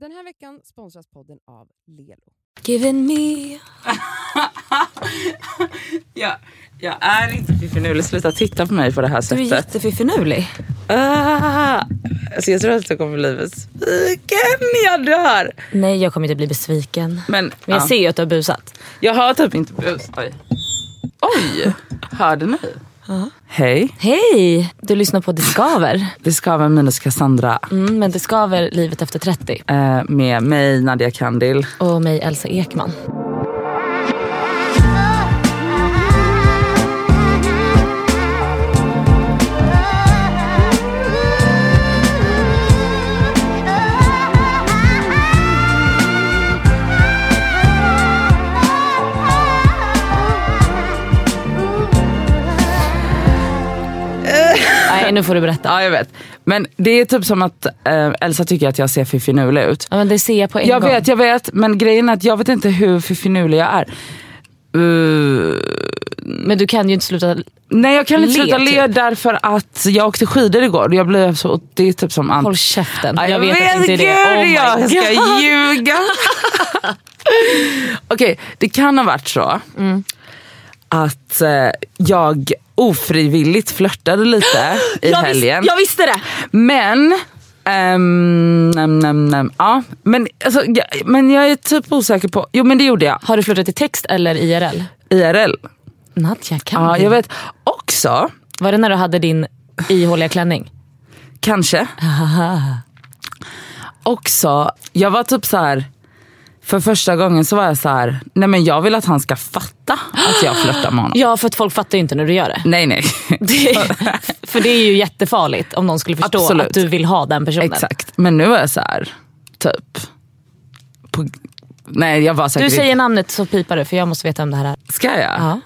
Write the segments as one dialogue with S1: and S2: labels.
S1: Den här veckan sponsras podden av Lelo.
S2: Giving me
S3: jag, jag är inte fiffinulig. Sluta titta på mig på det här
S2: Du är
S3: sättet.
S2: jättefiffinulig.
S3: Ah, alltså jag tror att jag kommer bli besviken. Jag dör.
S2: Nej, jag kommer inte bli besviken.
S3: Men,
S2: Men jag
S3: ja.
S2: ser ju att du har busat.
S3: jag har typ inte bus. Oj. Oj, hörde ni? Hej,
S2: Hej! Du lyssnar på Det skaver.
S3: det ska vara minus Cassandra
S2: Mm, men Det skaver livet efter 30.
S3: eh, med mig Nadia Kandil.
S2: Och mig Elsa Ekman. Nej, nu får du berätta.
S3: Ja jag vet. Men det är typ som att eh, Elsa tycker att jag ser fiffinulig ut.
S2: Ja, men det ser jag på en
S3: Jag
S2: gång.
S3: vet, jag vet. Men grejen är att jag vet inte hur fiffinulig jag är. Eh,
S2: Men du kan ju inte sluta.
S3: Nej jag kan inte
S2: Le,
S3: sluta le
S2: typ.
S3: därför att jag åkte skidor igår och jag blev så, det är typ som Ant-
S2: Håll käften.
S3: Ja,
S2: jag vet, att inte det.
S3: gud,
S2: Oh my
S3: jag ska
S2: God.
S3: ljuga. Okej, det kan ha varit så
S2: Mm.
S3: att eh, jag ofrivilligt flörtade lite i
S2: Jag, visste,
S3: helgen.
S2: jag visste det.
S3: Men, ehm, nem, nem, nem, ja. men, alltså, jag, men jag är typ osäker på, jo men det gjorde jag,
S2: Har du flörtat i text eller IRL?
S3: IRL.
S2: Nadja kan
S3: Ja,
S2: du?
S3: jag vet. Också,
S2: Var det när du hade din ihåliga klänning?
S3: kanske. Också, jag var typ så här. För första gången så var jag så här, nej men jag vill att han ska fatta att jag flörtar med honom.
S2: Ja, för att folk fattar ju inte när du gör det.
S3: Nej nej.
S2: det för det är ju jättefarligt om någon skulle förstå
S3: Absolut.
S2: att du vill ha den personen.
S3: Exakt. Men nu var jag så här, typ. På, nej jag var säkert
S2: Du säger namnet så pipar du för jag måste veta om det här är.
S3: Ska jag?
S2: Ja.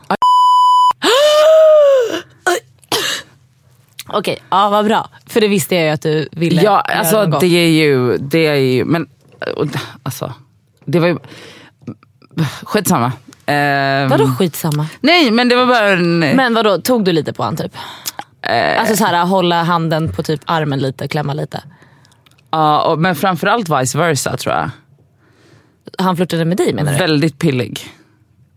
S2: Okej, ja vad bra. För det visste jag ju att du ville
S3: Ja,
S2: göra
S3: alltså
S2: någon gång.
S3: det är ju, det är ju, men och, alltså. Det var ju, skitsamma. Ehm,
S2: Vadå skitsamma?
S3: Nej men det var bara en,
S2: Men vadå, tog du lite på han typ?
S3: Eh.
S2: Alltså så här, hålla handen på typ armen lite, klämma lite.
S3: ja, och, men framförallt vice versa tror jag.
S2: Han flörtade med dig menar du?
S3: Väldigt pillig.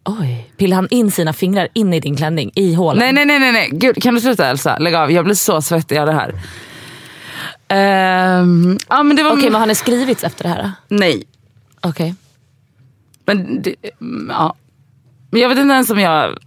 S2: Oj, pillade han in sina fingrar in i din klänning i hålen?
S3: Nej nej nej nej, nej. Gud, kan du sluta Elsa? Lägg av, jag blir så svettig av det här. Ehm, ja men det var,
S2: Okej, men har ni skrivits efter det här? då?
S3: nej.
S2: Okej.
S3: Men det, mm, ja. Men jag vet inte ens om jag,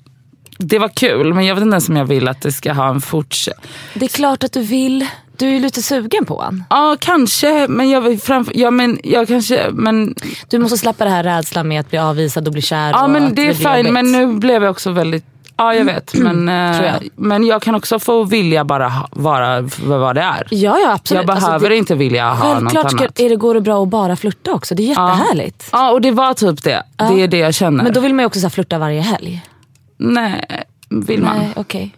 S3: det var kul men jag vet inte ens om jag vill att det ska ha en fortsättning.
S2: Det är klart att du vill. Du är ju lite sugen på han.
S3: Ja, kanske. Men jag, vill framför, ja, men jag kanske... Men,
S2: Du måste släppa det här rädslan med att bli avvisad och bli kär.
S3: ja,
S2: och
S3: men
S2: att
S3: det är
S2: blir jobbigt. Mm,
S3: fint. Men nu blev jag också väldigt... Ja, jag vet. Men, eh,
S2: Tror jag.
S3: men jag kan också få vilja bara ha- vara f- vad det är.
S2: Ja, ja absolut.
S3: Jag behöver
S2: alltså, det,
S3: inte vilja ha något
S2: Självklart
S3: annat.
S2: ska, är det, går det bra att bara flirta också. Det är jättehärligt.
S3: Ja, och det var typ det. Det är det jag känner.
S2: Men då vill man ju också så här flirta varje helg.
S3: Nej, vill man?
S2: Nej, okej.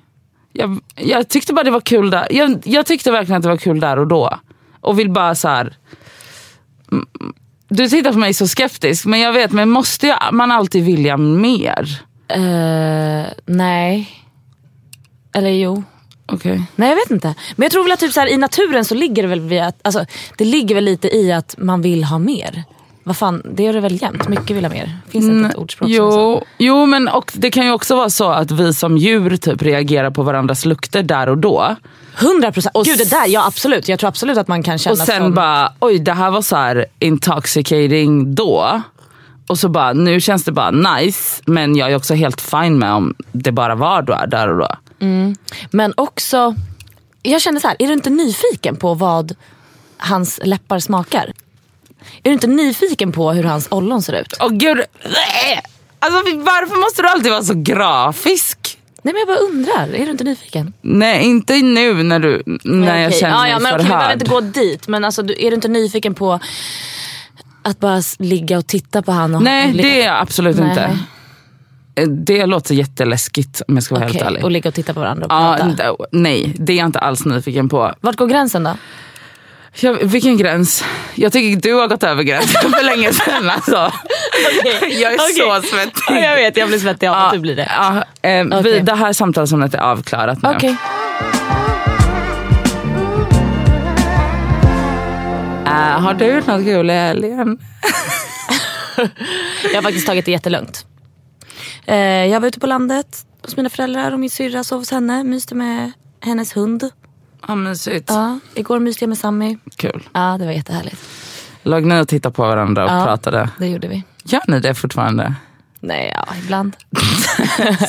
S3: Jag, jag tyckte bara det var kul där. Jag, jag tyckte verkligen att det var kul där och då. Och vill bara så här. Mm, Du tittar på mig så skeptisk, men jag vet, men måste jag, man alltid vilja mer?
S2: Eh, nej. Eller jo.
S3: Okej.
S2: Nej jag vet inte. Men jag tror väl att typ så här, i naturen så ligger det väl vid att, alltså, det ligger väl lite i att man vill ha mer. Vad fan, det gör det väl jämt. Mycket vill ha mer. Finns det inte ett ordspråk som är så?
S3: Mm, Jo, jo men och det kan ju också vara så att vi som djur typ reagerar på varandras lukter där och då.
S2: 100 procent. Gud det där, ja absolut. Jag tror absolut att man kan känna
S3: Och sen
S2: som...
S3: bara, oj det här var så här intoxicating då. Och så bara, nu känns det bara nice. Men jag är också helt fine med om det bara var då, där och då.
S2: Men också, jag känner så här, är du inte nyfiken på vad hans läppar smakar? Är du inte nyfiken på hur hans ollon ser ut?
S3: Åh gud, alltså varför måste du alltid vara så grafisk?
S2: Nej men jag bara undrar, är du inte nyfiken?
S3: Nej inte nu när du, när jag
S2: Okej.
S3: känner
S2: ja,
S3: mig
S2: ja, men okej, Vi
S3: förhörd.
S2: behöver inte gå dit, men alltså, du, är du inte nyfiken på att bara s- ligga och titta på han? Och
S3: Nej
S2: och ligga,
S3: det är jag absolut
S2: Nej.
S3: inte. Eh, Det låter jätteläskigt om jag ska vara
S2: Okej,
S3: helt ärlig.
S2: Och ligga och titta på varandra och
S3: Ja,
S2: prata.
S3: n- nej, det är jag inte alls nyfiken på.
S2: Vart går gränsen då?
S3: Jag, vilken gräns? Jag tycker du har gått över gränsen för länge sedan alltså. Jag är så svettig.
S2: Ja, jag vet, jag blir svettig av att du blir det.
S3: Ja, eh, vi,
S2: Okej.
S3: det här samtalsämnet är avklarat nu.
S2: Okej.
S3: Eh, har du gjort något kul i helgen?
S2: Jag har faktiskt tagit det jättelugnt. Eh, jag var ute på landet hos mina föräldrar och min syrra sov hos henne. Myste med hennes hund.
S3: Ja, mysigt.
S2: Ja, igår myste jag med Sammy.
S3: Kul.
S2: Ja, det var jättehärligt.
S3: Låg ni och tittade på varandra och
S2: Ja.
S3: pratade?
S2: Det gjorde vi.
S3: Gör ni det fortfarande?
S2: Nej, ja, ibland.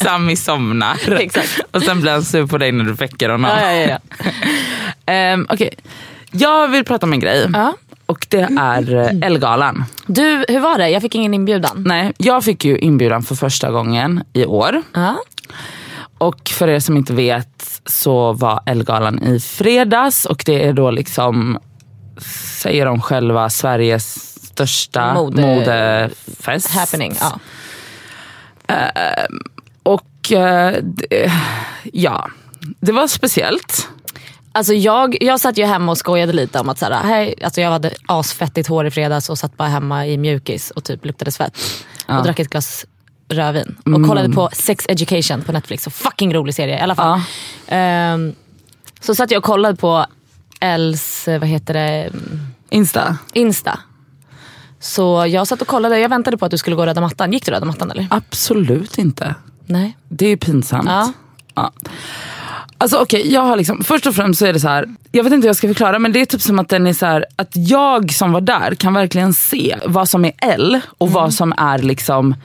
S3: Sami somnar.
S2: Exakt.
S3: Och sen blir han sur på dig när du väcker honom.
S2: Ja, ja, ja. ja.
S3: Ehm, okej. Jag vill prata om en grej.
S2: Ja.
S3: Och det är eh, Ellegalan.
S2: Du, hur var det? Jag fick ingen inbjudan.
S3: Nej, jag fick ju inbjudan för första gången i år.
S2: Ja.
S3: Och för er som inte vet så var Ellegalan i fredags och det är då liksom, säger de själva, Sveriges största
S2: Mode-
S3: modefest.
S2: Happening. Ja.
S3: Och eh, det, ja, det var speciellt.
S2: Alltså jag, jag satt ju hemma och skojade lite om att så här, hej, alltså jag hade asfettigt hår i fredags och satt bara hemma i mjukis och typ luktade svett. Och drack ett glas rödvin. Och kollade på Sex Education på Netflix. Så fucking rolig serie i alla fall. Ehm, så satt jag och kollade på Els, vad heter det,
S3: Insta.
S2: Insta. Så jag satt och kollade, jag väntade på att du skulle gå röda mattan. Gick du röda mattan eller?
S3: Absolut inte.
S2: Nej.
S3: Det är ju pinsamt.
S2: Ja.
S3: Ja. Alltså okej, jag har liksom, först och främst så är det så här. jag vet inte hur jag ska förklara men det är typ som att den är så här, att jag som var där kan verkligen se vad som är L och vad som är liksom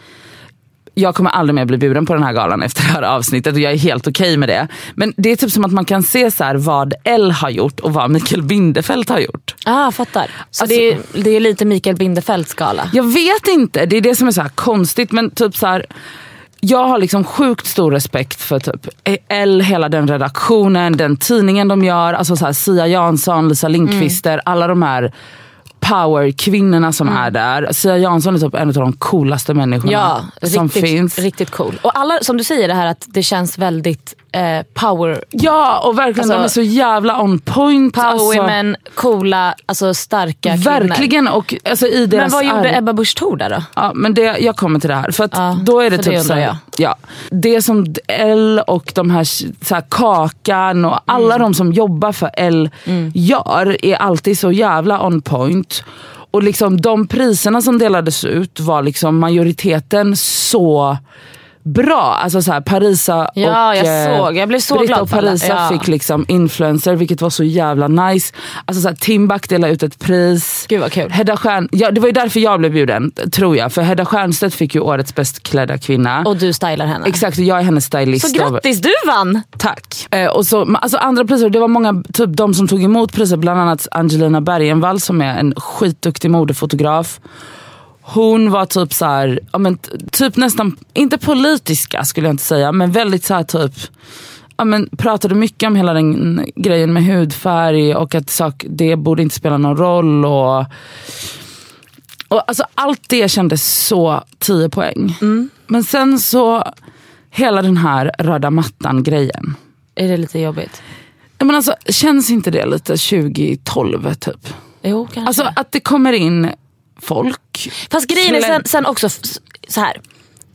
S3: jag kommer aldrig mer bli bjuden på den här galan efter det här avsnittet och jag är helt okej med det. Men det är typ som att man kan se så här vad L har gjort och vad Mikael Bindefeld har gjort.
S2: Ah, fattar. Så
S3: Alltså-
S2: det, är, det är lite Mikael Bindefelds skala.
S3: Jag vet inte, det är det som är så här konstigt. Men typ så här, jag har liksom sjukt stor respekt för typ L, hela den redaktionen, den tidningen de gör. Alltså så här, Sia Jansson, Lisa Lindqvister,
S2: Mm.
S3: alla de här powerkvinnorna som är där. Sia Jansson är typ en av de coolaste människorna
S2: Ja,
S3: som
S2: riktigt,
S3: finns.
S2: riktigt cool. Och alla, som du säger det här att det känns väldigt eh, power,
S3: Ja, och verkligen de är
S2: Alltså,
S3: så jävla on point.
S2: power
S3: alltså,
S2: women, coola, alltså starka kvinnor.
S3: verkligen. Och, alltså, i deras
S2: Men vad gjorde
S3: arbete-
S2: Ebba Busch Thor där då?
S3: Ja, men det, jag kommer till det här. För att
S2: Ja,
S3: då är det
S2: för
S3: typ
S2: det
S3: så här,
S2: undrar jag.
S3: Ja, det som L och de här, så här Kakan och
S2: Mm.
S3: alla de som jobbar för L gör är alltid så jävla on point. Och liksom de priserna som delades ut var liksom majoriteten så bra. Alltså så här, Parisa
S2: Ja,
S3: och
S2: jag
S3: eh,
S2: såg. Jag blev så
S3: Britta
S2: glad
S3: och
S2: för alla.
S3: Parisa
S2: Ja.
S3: fick liksom influencer vilket var så jävla nice. Alltså så här, Timbuk delade ut ett pris.
S2: Gud vad kul.
S3: Hedda Stjärn, ja, det var ju därför jag blev bjuden, tror jag. För Hedda Stiernstedt fick ju årets bäst klädda kvinna.
S2: Och du stylar henne.
S3: Exakt, och jag är hennes stylist.
S2: Så
S3: av-
S2: grattis, du vann!
S3: Tack. Eh, och så, men alltså andra priser, det var många, typ de som tog emot priser, bland annat Angelina Bergenvall som är en skitduktig modefotograf. Hon var typ så här, ja, men, t- typ nästan, inte politiska skulle jag inte säga, men väldigt så här typ Ja, men pratade mycket om hela den grejen med hudfärg och att sak, det borde inte spela någon roll. Och, och alltså allt det kändes så 10 poäng. Men sen så, hela den här röda mattan grejen.
S2: Är det lite jobbigt?
S3: Ja, Men alltså, känns inte det lite 2012 typ?
S2: Jo, kanske.
S3: Alltså att det kommer in folk.
S2: Fast grejen är
S3: Slä-
S2: sen, sen också f- s- så här.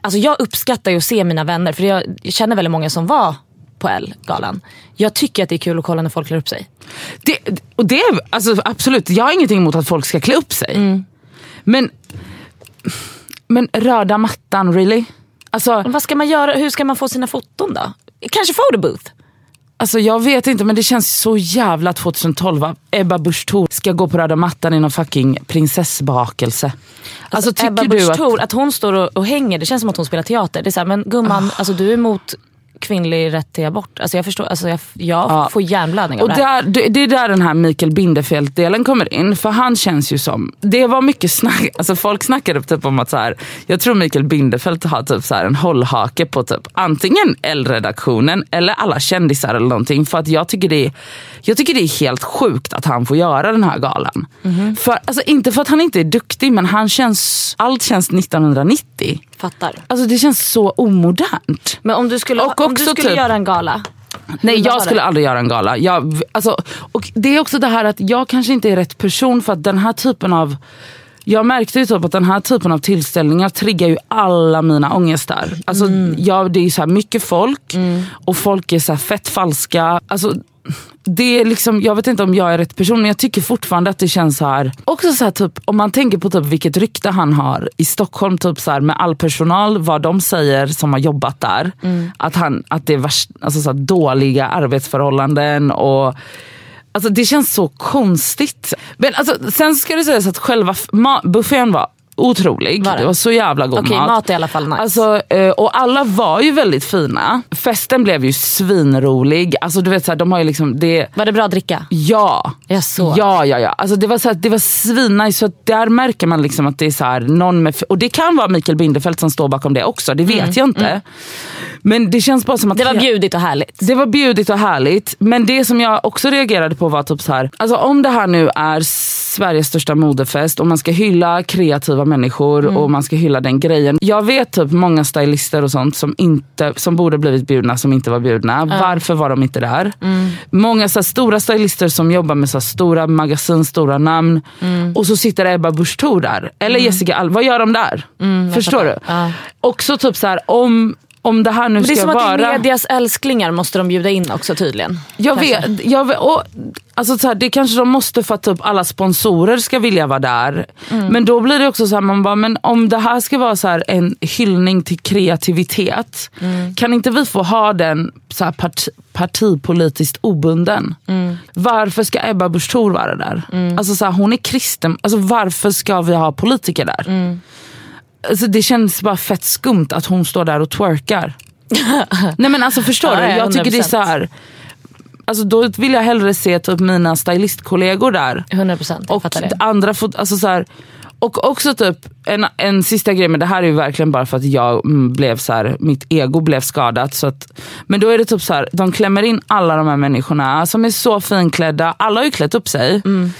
S2: Alltså jag uppskattar ju att se mina vänner för jag jag känner väldigt många som var på L-galan. Jag tycker att det är kul att kolla när folk klär upp sig.
S3: Det, och det, alltså, absolut, jag har ingenting emot att folk ska klä upp sig. Men, men röda mattan really? Alltså,
S2: Men vad ska man göra? Hur ska man få sina foton då? Kanske photobooth?
S3: alltså jag vet inte men det känns så jävla 2012 att Ebba Busch Thor ska gå på röda mattan i någon fucking prinsessbakelse. Alltså, tycker
S2: Ebba
S3: du
S2: Busch
S3: att...
S2: Thor, att hon står och, och hänger, det känns som att hon spelar teater. Det är så här, men gumman,
S3: Ah.
S2: alltså, du är emot kvinnlig rätt till abort. Alltså, jag förstår, alltså, jag, jag
S3: Ja.
S2: får hjärnblödning av
S3: Och
S2: det här.
S3: där, det, det är där den här Mikael Bindefeld-delen kommer in. För han känns ju som, det var mycket snack, alltså folk snackade typ om att så här, jag tror Mikael Bindefeld har typ så här en hållhake på typ antingen L-redaktionen eller alla kändisar eller någonting. För att jag tycker det är, jag tycker det är helt sjukt att han får göra den här galan. För, alltså, inte för att han inte är duktig men han känns, allt känns 1990.
S2: Fattar.
S3: Alltså det känns så omodernt.
S2: Men om du skulle,
S3: Och
S2: om du
S3: också
S2: skulle
S3: typ-
S2: göra en gala?
S3: Nej
S2: Vad var
S3: jag
S2: det?
S3: skulle aldrig göra en gala. Jag, alltså, och det är också det här att jag kanske inte är rätt person för att den här typen av jag märkte ju typ att den här typen av tillställningar triggar ju alla mina ångestar. Alltså, ja, det är ju så här mycket folk och folk är så här fett falska. Alltså, det är liksom, jag vet inte om jag är rätt person men jag tycker fortfarande att det känns så här. Också så här typ, om man tänker på typ vilket rykte han har i Stockholm typ så här, med all personal, vad de säger som har jobbat där.
S2: Mm.
S3: Att, han, att det är värst, alltså så här, dåliga arbetsförhållanden och Alltså det känns så konstigt. Men alltså, sen ska det sägas att själva f- ma- buffén var otrolig.
S2: Var det?
S3: det? var så jävla god
S2: Okej,
S3: mat.
S2: mat är i alla fall nice.
S3: Alltså, eh, och alla var ju väldigt fina. Festen blev ju svinrolig. Alltså du vet så här, de har ju liksom det.
S2: var det bra att dricka?
S3: Ja.
S2: Jag såg.
S3: Ja, ja, ja. Alltså det var, så här, det var svinnice. Så att där märker man liksom att det är så här, någon med... Och det kan vara Mikael Bindefeld som står bakom det också. Det vet jag inte. Men det känns bara som att...
S2: Mm, Det var bjudigt och härligt.
S3: Det var bjudigt och härligt. Men det som jag också reagerade på var typ så här. Alltså om det här nu är Sveriges största modefest och man ska hylla kreativa människor
S2: Mm.
S3: och man ska hylla den grejen. Jag vet typ många stylister och sånt som, inte, som borde blivit bjudna som inte var bjudna. Varför var de inte där?
S2: Mm.
S3: Många så här, stora stylister som jobbar med så här, stora magasin, stora namn.
S2: Mm.
S3: Och så sitter Ebba Busch Thor där. Eller Jessica Alba. Vad gör de där? Förstår du?
S2: Mm, Ja.
S3: Också typ så här om, om det här nu
S2: Det är
S3: ska
S2: som att
S3: vara...
S2: det är medias älsklingar måste de bjuda in också tydligen.
S3: Jag
S2: Kanske.
S3: vet, jag vet och, alltså så här, det kanske de måste för att typ alla sponsorer ska vilja vara där. Men då blir det också så här, man bara, men om det här ska vara så här en hyllning till kreativitet, kan inte vi få ha den så här parti, partipolitiskt obunden? Varför ska Ebba Busch Thor vara där? Alltså så här, hon är kristen, alltså varför ska vi ha politiker där? Alltså det känns bara fett skumt att hon står där och twerkar. Nej men alltså förstår
S2: Ja,
S3: du?
S2: ja,
S3: Jag tycker det är
S2: 100%.
S3: så här. Alltså då vill jag hellre se typ mina stylistkollegor där.
S2: 100 procent, jag
S3: Och
S2: fattar det.
S3: andra fot- alltså så här. Och också typ en, en sista grej, men det här är ju verkligen bara för att jag mm, blev så här, mitt ego blev skadat. Så att, men då är det typ så här, de klämmer in alla de här människorna som är så finklädda. Alla har ju klätt upp sig.
S2: Mm.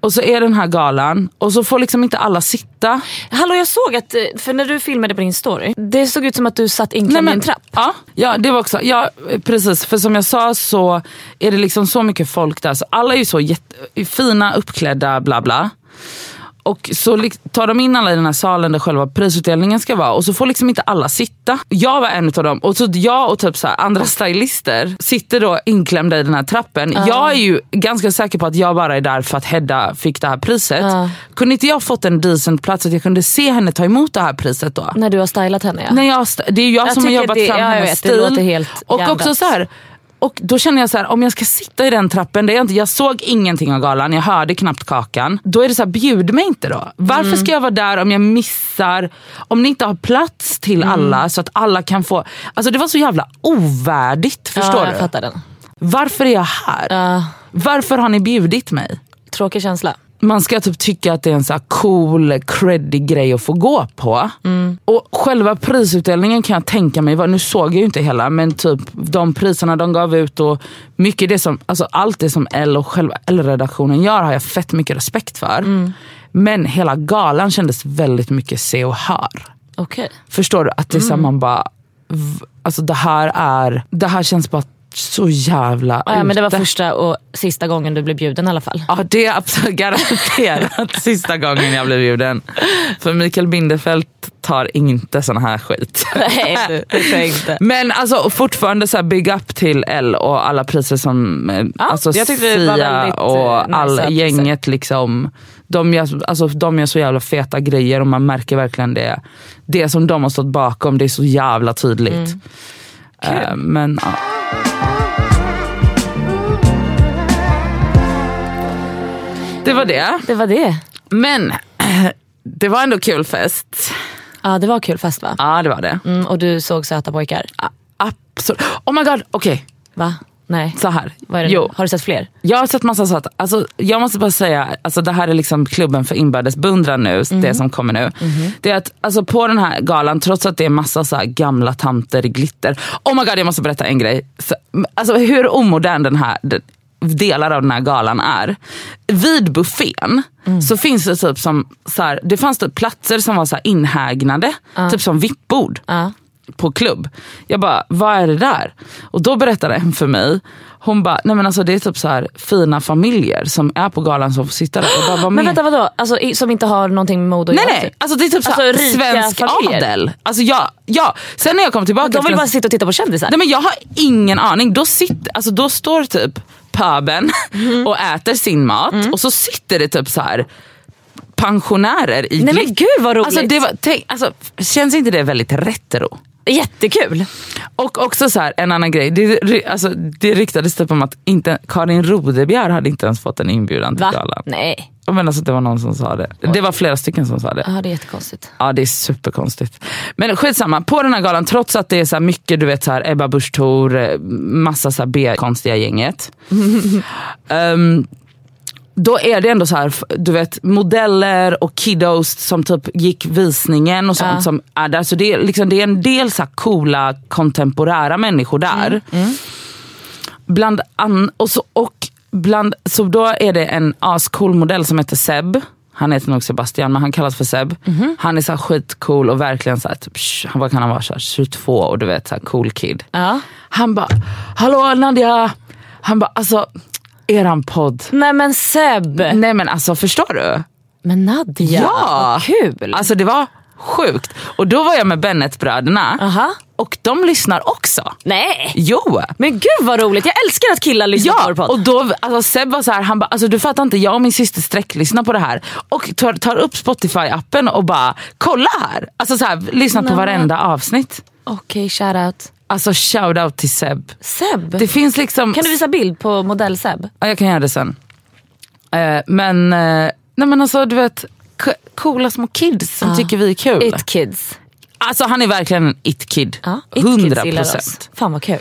S3: Och så är den här galan och så får liksom inte alla sitta.
S2: Hallå jag såg att, eh, för när du filmade på din story, det såg ut som att du satt inklämd i en trapp.
S3: Ja, ja, det var också, ja, precis. För som jag sa så är det liksom så mycket folk där. Så alla är ju så jätte, fina, uppklädda, bla bla. Och så lik- tar de in alla i den här salen där själva prisutdelningen ska vara och så får liksom inte alla sitta. Jag var en av dem och så jag och typ så här, andra stylister sitter då inklämda i den här trappen. Jag är ju ganska säker på att jag bara är där för att Hedda fick det här priset.
S2: Ja.
S3: Kunde inte jag fått en decent plats så att jag kunde se henne ta emot det här priset då?
S2: När du har stylat henne ja.
S3: Nej, jag, st- det är ju jag,
S2: Jag
S3: som har
S2: tycker
S3: jobbat
S2: det-
S3: fram
S2: ja, jag
S3: hennes
S2: vet, det
S3: stil.
S2: låter helt
S3: och
S2: hjärndött.
S3: också så här, och då känner jag så här, om jag ska sitta i den trappen, där jag, inte, jag såg ingenting av galan, jag hörde knappt kakan. Då är det så här, bjud mig inte då. Varför ska jag vara där om jag missar, om ni inte har plats till
S2: Mm.
S3: alla så att alla kan få. Alltså det var så jävla ovärdigt, förstår
S2: ja, jag
S3: du?
S2: fattar den.
S3: Varför är jag här?
S2: Ja,
S3: Varför har ni bjudit mig?
S2: tråkig känsla.
S3: man ska typ tycka att det är en så här cool, creddig grej att få gå på.
S2: Mm.
S3: Och själva prisutdelningen kan jag tänka mig, var- nu såg jag ju inte hela, men typ de priserna de gav ut och mycket det som, alltså allt det som L och själva L-redaktionen gör har jag fett mycket respekt för.
S2: Mm.
S3: Men hela galan kändes väldigt mycket se och hör.
S2: Okej.
S3: Förstår du? Att det är
S2: Mm.
S3: så här, man bara, v- alltså det här är, det här känns bara så jävla
S2: Ja, men det var
S3: ute.
S2: första och sista gången du blev bjuden i alla fall.
S3: Ja det är absolut garanterat sista gången jag blev bjuden. För Mikael Bindefeld tar inte sån här skit.
S2: Nej, det tror jag inte.
S3: Men alltså fortfarande så här big up till L och alla priser som eh, alltså
S2: jag tyckte det var
S3: Sia
S2: väldigt, eh,
S3: och
S2: nice
S3: all
S2: priser.
S3: gänget liksom. De gör, alltså, de gör så jävla feta grejer och man märker verkligen det. Det som de har stått bakom det är så jävla tydligt.
S2: Mm.
S3: Eh, men ja. Det var det.
S2: Det var det.
S3: Men det var ändå kul fest.
S2: Ja, det var kul fest va?
S3: Ja det var det.
S2: Mm, och du såg söta pojkar?
S3: Absolut. Oh my god, okej.
S2: Va? Nej.
S3: Så här.
S2: Vad är det
S3: jo.
S2: nu? Har du sett fler?
S3: Jag har sett massa söta. Alltså, jag måste bara säga, alltså, det här är liksom klubben för inbördes beundran nu, det som kommer nu. Det är att alltså, på den här galan, trots att det är massa så här, gamla tanter i glitter. Oh my god, jag måste berätta en grej. Så, alltså, hur omodern den här den, delar av den här galan är. Vid buffén så finns det typ som, så här, det fanns typ platser som var så här inhägnade, typ som vippbord
S2: Ja.
S3: på klubb. Jag bara, vad är det där? Och då berättade en för mig, hon bara, nej men alltså det är typ så här fina familjer som är på galan som får sitta där. Jag bara, vad
S2: Men
S3: menar
S2: vänta vadå? Alltså, i, som inte har någonting med mode att
S3: Nej
S2: göra?
S3: nej,
S2: typ.
S3: alltså det är typ så här
S2: Alltså, rika
S3: svensk
S2: familjer.
S3: adel. Alltså ja, ja. Sen när jag kom tillbaka
S2: De
S3: från-
S2: vill bara sitta och titta på kändisar?
S3: Nej men jag har ingen aning. Då, sitter, alltså, då står typ pöben
S2: Mm.
S3: och äter sin mat och så sitter det typ så här pensionärer i
S2: Nej men
S3: glitter.
S2: gud vad roligt.
S3: Alltså, det var, tänk, alltså, känns inte det väldigt retro?
S2: Jättekul.
S3: Och också så här, en annan grej. Det, ry- alltså, det ryktades typ om att inte, Karin Rodebjer hade inte ens fått en inbjudan till
S2: Va?
S3: galan.
S2: Nej.
S3: Men alltså, det var någon som sa det. Det var flera stycken som sa det.
S2: Ja det är jättekonstigt.
S3: Ja det är superkonstigt. Men skitsamma, på den här galan trots att det är så här mycket du vet så här, Ebba Busch Thor, eh, massa så här B-konstiga gänget. Ehm, då är det ändå så här, f- du vet modeller och kiddos som typ gick visningen och sånt.
S2: Ja.
S3: Som är där. Så det är, liksom, det är en del så här coola kontemporära människor där.
S2: Mm,
S3: Bland an- och så, och bland, så då är det en ascool modell som heter Seb. Han heter nog Sebastian men han kallas för Seb.
S2: Mhm.
S3: Han är så här skitcool och verkligen så här, typ, tj- vad kan han vara, så här, 22 och du vet så här, cool kid.
S2: Ja.
S3: Han bara, hallå Nadia! Han bara, alltså eran podd.
S2: Nej men Seb.
S3: Nej men alltså förstår
S2: Mm.
S3: du?
S2: Men Nadja,
S3: Ja!
S2: vad kul.
S3: Alltså det var sjukt. Och då var jag med Bennet-bröderna
S2: Aha.
S3: och de lyssnar också.
S2: Nej.
S3: Jo!
S2: Men gud vad roligt, jag älskar att killar lyssnar på vår
S3: Ja,
S2: podd.
S3: och då, alltså Seb var så här, han bara, alltså du fattar inte, jag och min syster sträcklyssnar på det här och tar, tar upp Spotify-appen och bara, kolla här! Alltså så här, lyssnar på
S2: Nej, men-
S3: varenda avsnitt.
S2: Okej, shoutout.
S3: Alltså shout-out till Seb.
S2: Seb.
S3: Det finns liksom...
S2: Kan du visa bild på modell-Seb?
S3: Ja, jag kan göra det sen. Eh, men, eh, nej men alltså du vet, k- coola små kids som
S2: Ja.
S3: tycker vi är kul.
S2: It kids.
S3: Alltså han är verkligen en it-kid.
S2: Ja, it
S3: Hundra
S2: kids gillar oss.
S3: procent.
S2: Fan vad kul.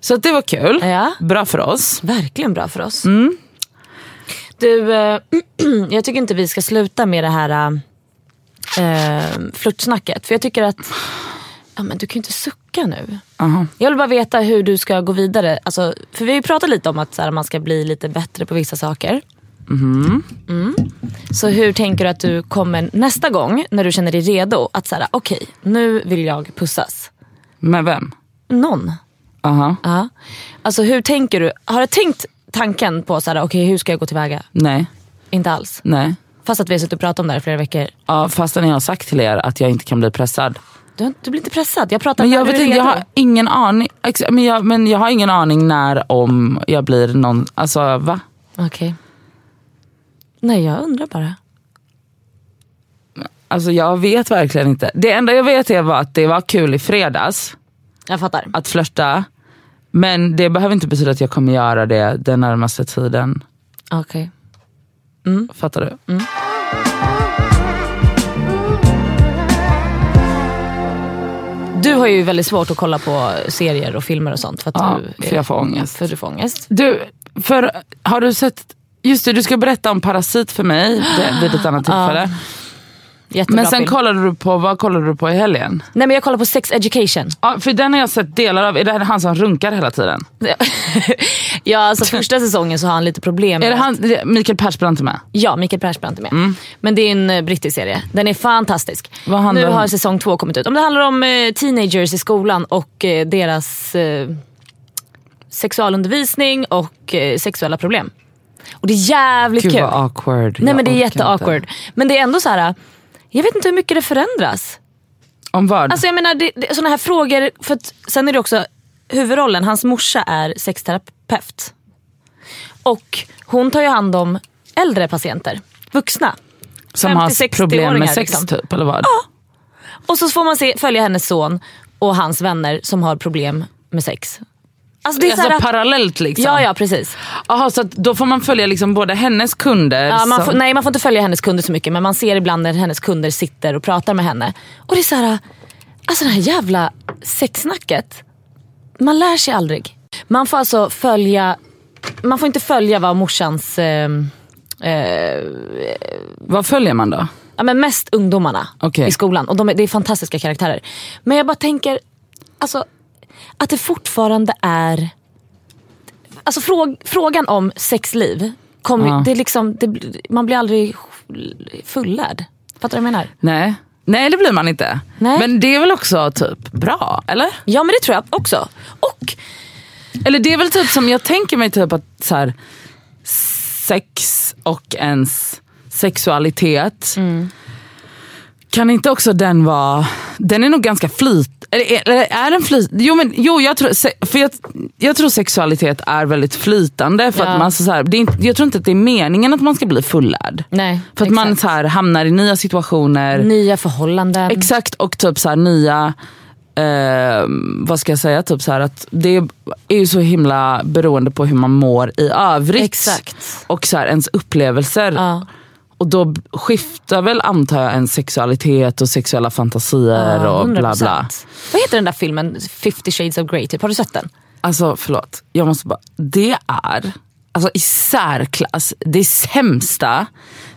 S3: Så att det var kul.
S2: Ja.
S3: Bra för oss.
S2: Verkligen bra för oss. Du, eh, jag tycker inte vi ska sluta med det här eh, flörtsnacket. För jag tycker att, ja, men du kan ju inte sucka nu.
S3: Aha.
S2: Jag vill bara veta hur du ska gå vidare. Alltså, för vi har ju pratat lite om att så här, man ska bli lite bättre på vissa saker.
S3: Mm-hmm.
S2: Mm. Så hur tänker du att du kommer nästa gång när du känner dig redo att så här, okej, nu vill jag pussas.
S3: Med vem?
S2: Någon.
S3: Aha.
S2: Ja. Alltså hur tänker du? Har du tänkt tanken på så här, okej hur ska jag gå tillväga?
S3: Nej,
S2: Inte alls.
S3: nej.
S2: Fast att vi har suttit och pratat om det här i flera veckor.
S3: Ja, fastän jag har sagt till er att jag inte kan bli pressad.
S2: Du, har- du blir inte pressad. Jag pratar
S3: Men
S2: när
S3: jag,
S2: du
S3: vet
S2: är
S3: inte, jag
S2: redo.
S3: har ingen aning. Ex- Men jag, men jag har ingen aning när om jag blir någon, alltså va?
S2: Okej. Nej jag undrar bara.
S3: Alltså jag vet verkligen inte. Det enda jag vet är bara att det var kul i fredags
S2: Jag fattar.
S3: att flörta. Men det behöver inte betyda att jag kommer göra det den närmaste tiden.
S2: Okej.
S3: Fattar du?
S2: Du har ju väldigt svårt att kolla på serier och filmer och sånt. För att
S3: Ja,
S2: du
S3: för jag får ångest.
S2: För du får ångest.
S3: Du, för har du sett, just det du ska berätta om Parasit för mig det, vid ett annat tillfälle.
S2: Jättebra
S3: Men sen
S2: film.
S3: kollade du på, vad kollade du på i helgen?
S2: Nej men jag kollar på Sex Education.
S3: Ja, för den har jag sett delar av. Är det han som runkar hela tiden?
S2: ja alltså första säsongen så har han lite problem.
S3: Är det
S2: med-
S3: han, det- Mikael Persbrandt är med?
S2: Ja, Mikael Persbrandt är med. Men det är en eh, brittisk serie. Den är fantastisk.
S3: Vad handlar
S2: nu
S3: den om?
S2: har säsong två kommit ut. Om det handlar om eh, teenagers i skolan och eh, deras eh, sexualundervisning och eh, sexuella problem. Och det är jävligt
S3: Gud
S2: kul.
S3: vad awkward.
S2: Nej
S3: Jag
S2: men det är
S3: orkar
S2: jätteawkward.
S3: inte.
S2: Men det är ändå så här. jag vet inte hur mycket det förändras.
S3: Om vad?
S2: Alltså jag menar det, det, sådana här frågor, för att, sen är det också huvudrollen, hans morsa är sexterapeut. Och hon tar ju hand om äldre patienter, vuxna.
S3: som har
S2: 50-60-åringar
S3: problem med sex
S2: liksom.
S3: typ eller vad?
S2: Och så får man se, följa hennes son och hans vänner som har problem med sex. Alltså det är
S3: alltså
S2: så här,
S3: parallellt liksom?
S2: Ja, ja precis.
S3: Aha, så att då får man följa liksom både hennes kunder
S2: Ja, man
S3: som-
S2: får, nej man får inte följa hennes kunder så mycket men man ser ibland när hennes kunder sitter och pratar med henne. Och det är så här, alltså det här jävla sexsnacket. Man lär sig aldrig. Man får alltså följa, man får inte följa vad morsans, eh, eh,
S3: Vad följer man då?
S2: ja, men mest ungdomarna
S3: Okej.
S2: i skolan. Och de är, det är fantastiska karaktärer. Men jag bara tänker, alltså att det fortfarande är, alltså fråg, frågan om sexliv, kommer
S3: Ja.
S2: det är liksom, det, bl- man blir aldrig fullärd. Fattar du vad jag menar?
S3: Nej. Nej det blir man inte.
S2: Nej.
S3: Men det är väl också typ bra, eller?
S2: Ja men det tror jag också. Och
S3: Eller det är väl typ som jag tänker mig typ att så här, sex och ens sexualitet. Kan inte också den vara, den är nog ganska flyt, Eller är, eller är den flyt... Jo, men, jo jag, tror, se- för jag, jag tror sexualitet är väldigt flytande. För
S2: Ja.
S3: att man så så här, det är inte, jag tror inte att det är meningen att man ska bli fullärd.
S2: Nej,
S3: För att man
S2: exakt.
S3: så här, hamnar i nya situationer.
S2: Nya förhållanden.
S3: Exakt och typ så här, nya, eh, vad ska jag säga, typ så här, att det är ju så himla beroende på hur man mår i övrigt.
S2: Exakt.
S3: Och så här, ens upplevelser.
S2: Ja.
S3: Och då skiftar väl antar jag en sexualitet och sexuella fantasier
S2: Ja,
S3: och bla bla.
S2: 100%. Vad heter den där filmen 50 shades of Grey? Typ? Har du sett den?
S3: Alltså förlåt, jag måste bara. Det är alltså, i särklass det sämsta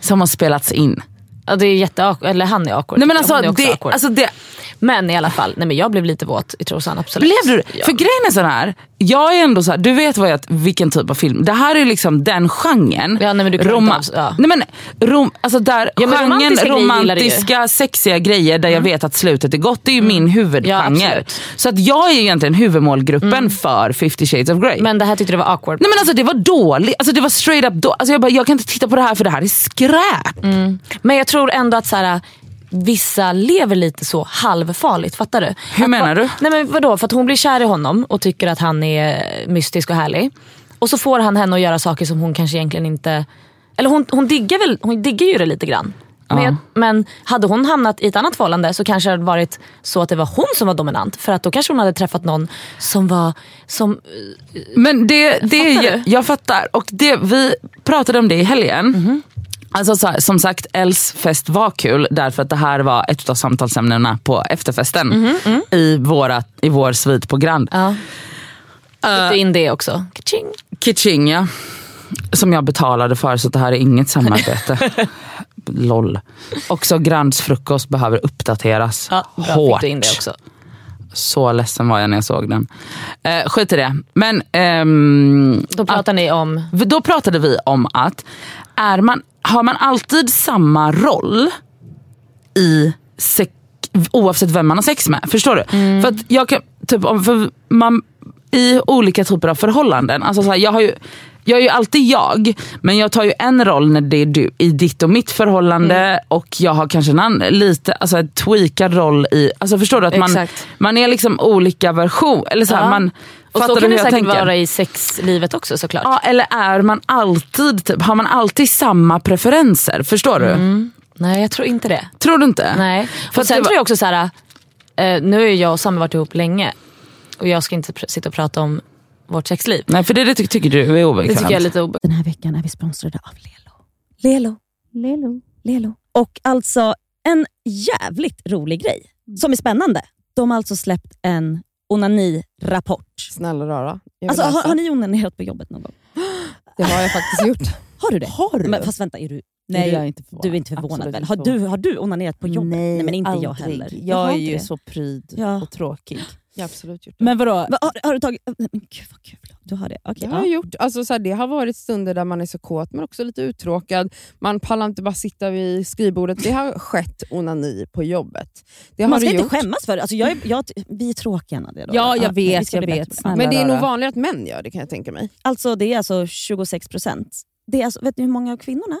S3: som har spelats in.
S2: Ja, det är jätte eller han är awkward.
S3: Nej men
S2: Ja,
S3: alltså,
S2: hon är också
S3: det,
S2: awkward.
S3: alltså det,
S2: men i alla fall, nej, men jag blev lite våt i trosan absolut.
S3: Blev du
S2: Ja.
S3: För grejen är sån här, jag är ändå så här, du vet vad jag, vilken typ av film, det här är liksom den genren.
S2: Ja, nej, men du kan
S3: Roma-
S2: inte avs- ja.
S3: nej, men, rom, alltså där
S2: Ja, men
S3: genren
S2: romantiska grejer gillar du ju. Mm.
S3: romantiska, sexiga grejer där jag vet att slutet är gott, det är ju min
S2: Ja,
S3: huvudgenre.
S2: absolut. Mm.
S3: så att jag är ju egentligen huvudmålgruppen för 50 shades of Grey.
S2: men det här tyckte du var awkward.
S3: Nej men alltså det var dåligt, alltså det var straight up dåligt. Alltså jag bara, jag kan inte titta på det här för det här är skräp.
S2: Mm. Men jag tror ändå att så här, vissa lever lite så halvfarligt. Fattar du?
S3: Hur
S2: att,
S3: menar du?
S2: Nej men vadå? För att hon blir kär i honom och tycker att han är mystisk och härlig. Och så får han henne att göra saker som hon kanske egentligen inte... Eller hon, hon, diggar, väl, hon diggar ju det lite grann. Men, jag, men hade hon hamnat i ett annat förhållande så kanske det hade varit så att det var hon som var dominant. För att då kanske hon hade träffat någon som var... Som,
S3: Men det, det
S2: Fattar
S3: jag,
S2: du?
S3: jag fattar. Och det, vi pratade om det i helgen.
S2: Mhm.
S3: Alltså så här, som sagt, Els fest var kul därför att det här var ett av samtalsämnena på efterfesten
S2: Mhm,
S3: I, våra, i vår svit på Grand.
S2: ja. Fick du
S3: Eh,
S2: in det också? Kaching.
S3: Kitching ja. Som jag betalade för så det här är inget samarbete. LOL. Också Grands frukost behöver uppdateras
S2: Ja, bra, Fick
S3: hårt.
S2: du in det också.
S3: Så ledsen var jag när jag såg den. Eh, skit i det. Men ehm,
S2: Då pratar ni om...
S3: Då pratade vi om att är man, har man alltid samma roll i sex, oavsett vem man har sex med? Förstår du?
S2: Mm.
S3: För att jag kan, typ, om- för man, I olika typer av förhållanden. Alltså så här, jag, har ju, jag är ju alltid jag, men jag tar ju en roll när det är du, i ditt och mitt förhållande
S2: Mm.
S3: och jag har kanske en annan, lite, alltså en tweakad roll i... Alltså förstår du? att man,
S2: Exakt.
S3: man är liksom olika version. Eller så här,
S2: Ja.
S3: man,
S2: Och
S3: fattar
S2: så
S3: du
S2: kan
S3: hur
S2: det
S3: jag
S2: säkert
S3: tänker?
S2: vara i sexlivet också såklart.
S3: Ja, eller är man alltid, typ, har man alltid samma preferenser? Förstår du?
S2: Nej jag tror inte det.
S3: Tror du inte?
S2: Nej.
S3: För
S2: och
S3: att
S2: sen
S3: det var-
S2: tror jag också så här, eh, nu är jag och Sami varit ihop länge och jag ska inte pr- sitta och prata om vårt sexliv.
S3: Nej, för det, det ty- tycker du är
S2: Det
S3: obekvämt.
S2: tycker jag är lite obekvämt.
S4: Den här veckan är vi sponsrade av Lelo. Lelo. Lelo. Lelo. Och alltså en jävligt rolig grej
S1: Mm.
S4: som är spännande. De har alltså släppt en onanirapport.
S1: Snälla rara. Jag vill
S4: Alltså, har,
S1: läsa.
S4: har ni onanerat på jobbet någon gång?
S1: Det har jag faktiskt gjort.
S4: Har du det?
S1: Har du?
S4: Men, fast vänta, är du,
S5: Nej,
S4: nej,
S5: jag är inte förvånad.
S4: du är inte förvånad
S1: Absolut
S4: väl?
S1: inte
S4: Har du, har du onanerat på jobbet?
S5: Nej,
S4: men inte jag
S5: aldrig.
S4: heller.
S5: Jag
S4: har
S5: är
S4: inte
S5: ju
S4: det.
S5: så pryd
S4: Ja.
S5: och tråkig.
S1: Jag har absolut gjort det.
S5: Men vadå?
S4: Va, har, har du tagit... Men gud vad kul. Du har det? Okej.
S1: Det har jag
S4: ja.
S1: gjort. Alltså, så här, det har varit stunder där man är så kåt men också lite uttråkad. Man pallar inte bara sitta vid skrivbordet. Det har skett onani på jobbet. Det har
S4: Man ska
S1: det
S4: inte
S1: gjort.
S4: skämmas för det. Alltså, jag är, jag, vi är tråkiga Nadia. då.
S5: Ja, jag
S4: men vi
S5: vet,
S4: ska
S5: jag
S4: bli
S5: vet.
S4: bättre på det.
S5: Snälla.
S1: Men det är nog
S5: Rara.
S1: vanligare att män gör det kan jag tänka mig.
S4: Alltså det är alltså 26 procent. Det är alltså, vet ni hur många av kvinnorna?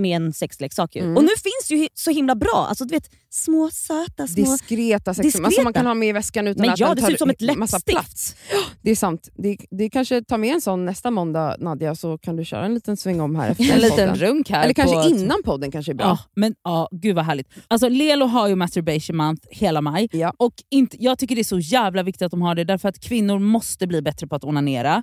S4: med en sexleksak ju.
S1: Mm.
S4: Och nu finns det ju hi- så himla bra. Alltså du vet, små söta små...
S1: Diskreta sexrum alltså,
S4: Diskreta.
S1: man kan ha med i väskan utan
S4: men
S1: att
S4: ja,
S1: den
S4: det
S1: tar
S4: ser ut som ett
S1: ut massa plats.
S4: läppstift.
S1: Det är sant. Det, det kanske tar med en sån nästa måndag Nadja, så kan du köra en liten sväng om här efter
S5: En liten
S1: podden.
S5: runk här.
S1: Eller kanske
S5: på-
S1: innan podden kanske är bra.
S5: Ja, men ja, gud vad härligt. Alltså Lelo har ju masturbation month hela maj.
S1: Ja.
S5: Och inte, jag tycker det är så jävla viktigt att de har det, därför att kvinnor måste bli bättre på att onanera.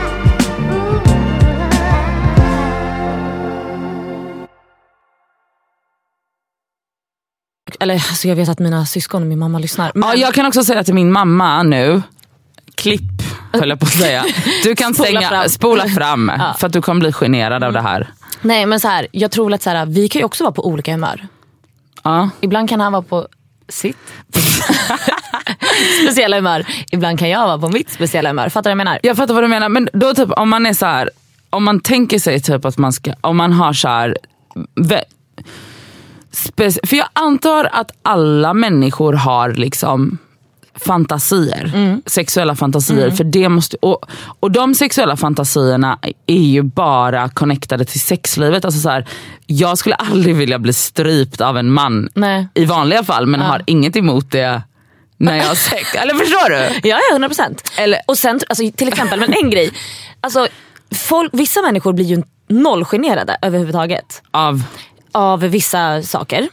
S2: Eller alltså, jag vet att mina syskon och min mamma lyssnar. Men,
S3: Ja, jag kan också säga till min mamma nu, klipp höll jag på att säga. Du kan
S2: Spola
S3: stänga,
S2: fram.
S3: spola fram
S2: Ja.
S3: för att du kommer bli generad av det här.
S2: Nej men så här, jag tror väl att så här, vi kan ju också vara på olika humör.
S3: Ja.
S2: Ibland kan han vara på sitt speciella humör. Ibland kan jag vara på mitt speciella humör. Fattar du vad jag menar?
S3: Jag fattar vad du menar, men då typ om man är så här, om man tänker sig typ att man ska, om man har så här, vä- spec- för jag antar att alla människor har liksom fantasier, sexuella fantasier. För det måste, och, och de sexuella fantasierna är ju bara connectade till sexlivet. Alltså så här, jag skulle aldrig vilja bli strypt av en man
S2: Nej.
S3: i vanliga fall men har inget emot det när jag har sex. Eller förstår du?
S2: Ja, ja 100 procent. Och sen, alltså, till exempel, men en grej. Alltså, folk, vissa människor blir ju nollgenerade överhuvudtaget
S3: Av,
S2: av vissa saker.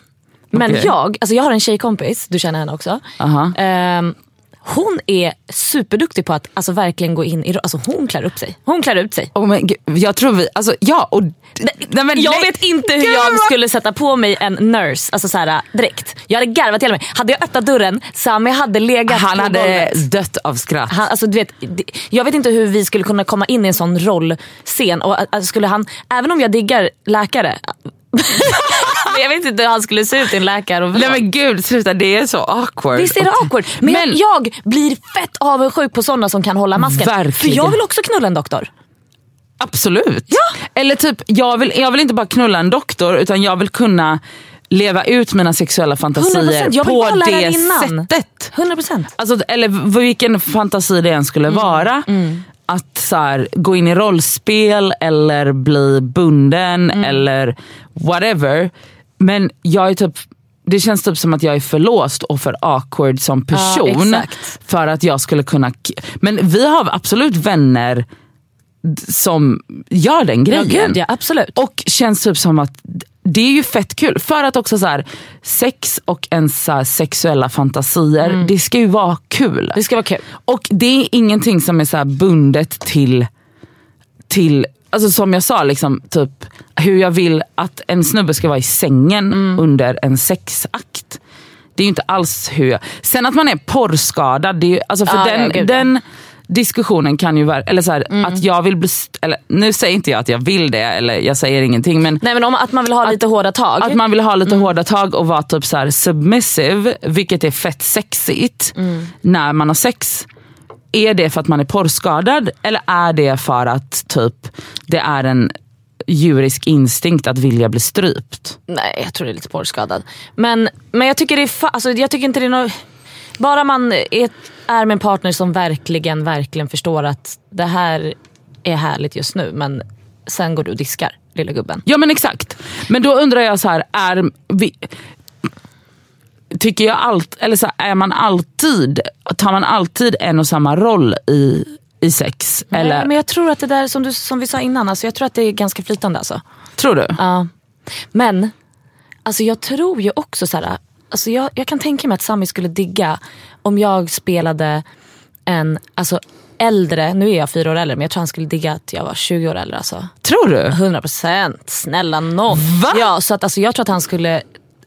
S2: Men
S3: Okej.
S2: jag, alltså jag har en tjejkompis, du känner henne också.
S3: aha.
S2: Ehm, hon är superduktig på att alltså, verkligen gå in i ro- Alltså hon klär upp sig. Hon klär ut sig.
S3: Oh men gud, jag tror vi, alltså ja och... Nej, men,
S2: Jag
S3: nej.
S2: vet inte hur
S3: Gud,
S2: jag
S3: vad-
S2: skulle sätta på mig en nurse alltså så här, direkt. Jag hade garvat till mig. Hade jag öppnat dörren, Sami hade legat
S3: Han
S2: på
S3: hade
S2: golvet.
S3: dött av skratt.
S2: Han, alltså, du vet, det- jag vet inte hur vi skulle kunna komma in i en sån rollscen. Och, alltså, skulle han, även om jag diggar läkare. men jag vet inte hur han skulle se ut i en läkare. Och
S3: Nej men gud sluta, det är så awkward.
S2: Visst är det
S3: Och-
S2: awkward? Men,
S3: Men-
S2: jag blir fett avundsjuk på sådana som kan hålla masken. För
S3: Verkligen.
S2: jag vill också knulla en doktor.
S3: Absolut. Eller typ, jag vill, jag vill inte bara knulla en doktor utan jag vill kunna leva ut mina sexuella
S2: 100%,
S3: fantasier
S2: jag vill
S3: på
S2: bara lära
S3: det
S2: det innan.
S3: sättet.
S2: 100%.
S3: Alltså, eller v- vilken fantasi det än skulle
S2: Mm.
S3: vara. Att så här, gå in i rollspel eller bli bunden
S2: Mm.
S3: eller whatever. Men jag är typ, det känns typ som att jag är för låst och för awkward som person.
S2: exakt.
S3: för att jag skulle kunna... k- Men vi har absolut vänner d- som gör den
S2: Ja,
S3: grejen.
S2: gud, ja, absolut.
S3: Och känns typ som att det är ju fett kul. För att också så här, sex och ens så här, sexuella fantasier, det ska ju vara kul.
S2: Mm. Det ska vara kul.
S3: Och det är ingenting som är så här bundet till, till alltså som jag sa, liksom, typ, hur jag vill att en snubbe ska vara i sängen
S2: Mm.
S3: under en sexakt. Det är ju inte alls hur jag... Sen att man är porrskadad, det är ju, alltså för
S2: Ah, ja,
S3: den,
S2: gud, ja. Mm.
S3: den diskussionen kan ju vara... Eller så här, att jag vill bli... st- Eller, nu säger inte jag att jag vill det, eller jag säger ingenting. Men
S2: Nej Mm. men om att man vill ha lite hårda tag.
S3: att man vill ha lite hårda tag och vara typ så här submissive, vilket är fett sexigt
S2: Mm.
S3: när man har sex. Är det för att man är porrskadad eller är det för att typ det är en djurisk instinkt att vilja bli strypt?
S2: Nej, jag tror det är lite porrskadad. Men, men jag tycker det är fa- alltså, jag tycker inte det är något... Bara man är, är med en partner som verkligen, verkligen förstår att det här är härligt just nu men sen går du och diskar, lilla gubben.
S3: Ja men exakt. Men då undrar jag så här, är vi, tycker jag allt, eller så här, är man alltid, tar man alltid en och samma roll i, i sex? eller,
S2: Nej, men jag tror att det där som, du, som vi sa innan, alltså, jag tror att det är ganska flytande alltså.
S3: tror du?
S2: Ja. Men alltså jag tror ju också så här, alltså jag, jag kan tänka mig att Sami skulle digga om jag spelade en alltså, äldre, nu är jag fyra år äldre men jag tror han skulle digga att jag var 20 år äldre. Alltså.
S3: Tror du?
S2: 100 procent, snälla nån.
S3: Va?
S2: Ja, så att, alltså, jag tror att han skulle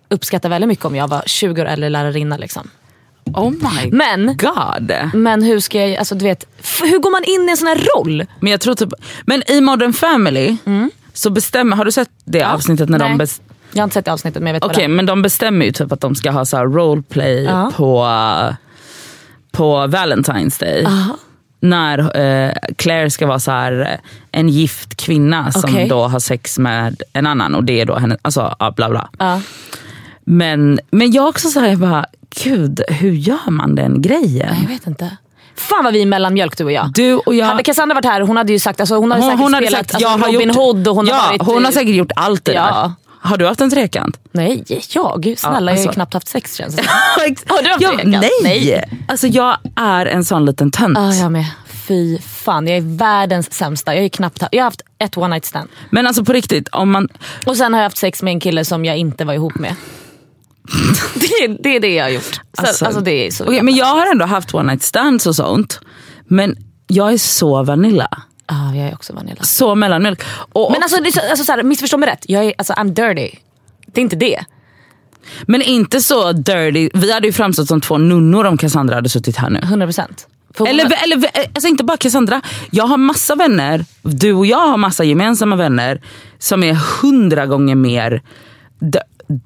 S2: uppskatta väldigt mycket om jag var 20 år äldre lärarinna. Liksom.
S3: Oh my
S2: Men,
S3: god.
S2: men hur ska jag, alltså, du vet, f- hur går man in i en sån här roll?
S3: Men jag tror typ, men i Modern Family så bestämmer, har du sett det avsnittet när
S2: Mm. nej.
S3: de bes-
S2: Jag har inte sett det avsnittet men jag vet
S3: Okej men de bestämmer ju typ att de ska ha så här roleplay
S2: Ja.
S3: på, på Valentine's Day. När eh, Claire ska vara så här eh, en gift kvinna som
S2: Okej.
S3: då har sex med en annan och det är då henne, alltså ja, bla bla.
S2: vad det är.
S3: Men, men jag också såhär, jag bara gud hur gör man den grejen?
S2: Ja, jag vet inte. Fan vad vi är mellanmjölk du och jag.
S3: Du och jag...
S2: Hade Cassandra varit här hon hade ju sagt, alltså, hon hade
S3: Hon,
S2: säkert
S3: hon hade
S2: spelat
S3: sagt
S2: alltså,
S3: jag har
S2: Robin
S3: gjort,
S2: Hood och hon
S3: ja,
S2: har varit...
S3: hon har säkert gjort allt det
S2: Ja.
S3: där. Har du haft en trekant?
S2: Nej, jag? Snälla
S3: Ja,
S2: jag har
S3: alltså.
S2: ju knappt haft sex känns det som. Har du haft
S3: ja,
S2: trekant?
S3: nej.
S2: Nej.
S3: Alltså jag är en sån liten tönt.
S2: ah, Jag med. Fy fan, jag är världens sämsta. Jag, är knappt, jag har haft ett one night stand.
S3: Men alltså på riktigt, om man...
S2: Och sen har jag haft sex med en kille som jag inte var ihop med. det, är- det är det jag har gjort. Så, alltså,
S3: Alltså-
S2: det är så
S3: Okej, men jag har ändå haft one night stands och sånt. Men jag är så vanilla.
S2: ah, jag är också vanilla.
S3: Så mellanmjölk. Och,
S2: Men alltså, det är så, alltså så här, missförstå mig rätt, jag är, alltså, I'm dirty. Det är inte det.
S3: men inte så dirty. Vi hade ju framstått som två nunnor om Cassandra hade suttit här nu.
S2: 100%. För hon-
S3: Eller, eller alltså inte bara Cassandra. Jag har massa vänner, du och jag har massa gemensamma vänner som är hundra gånger mer d-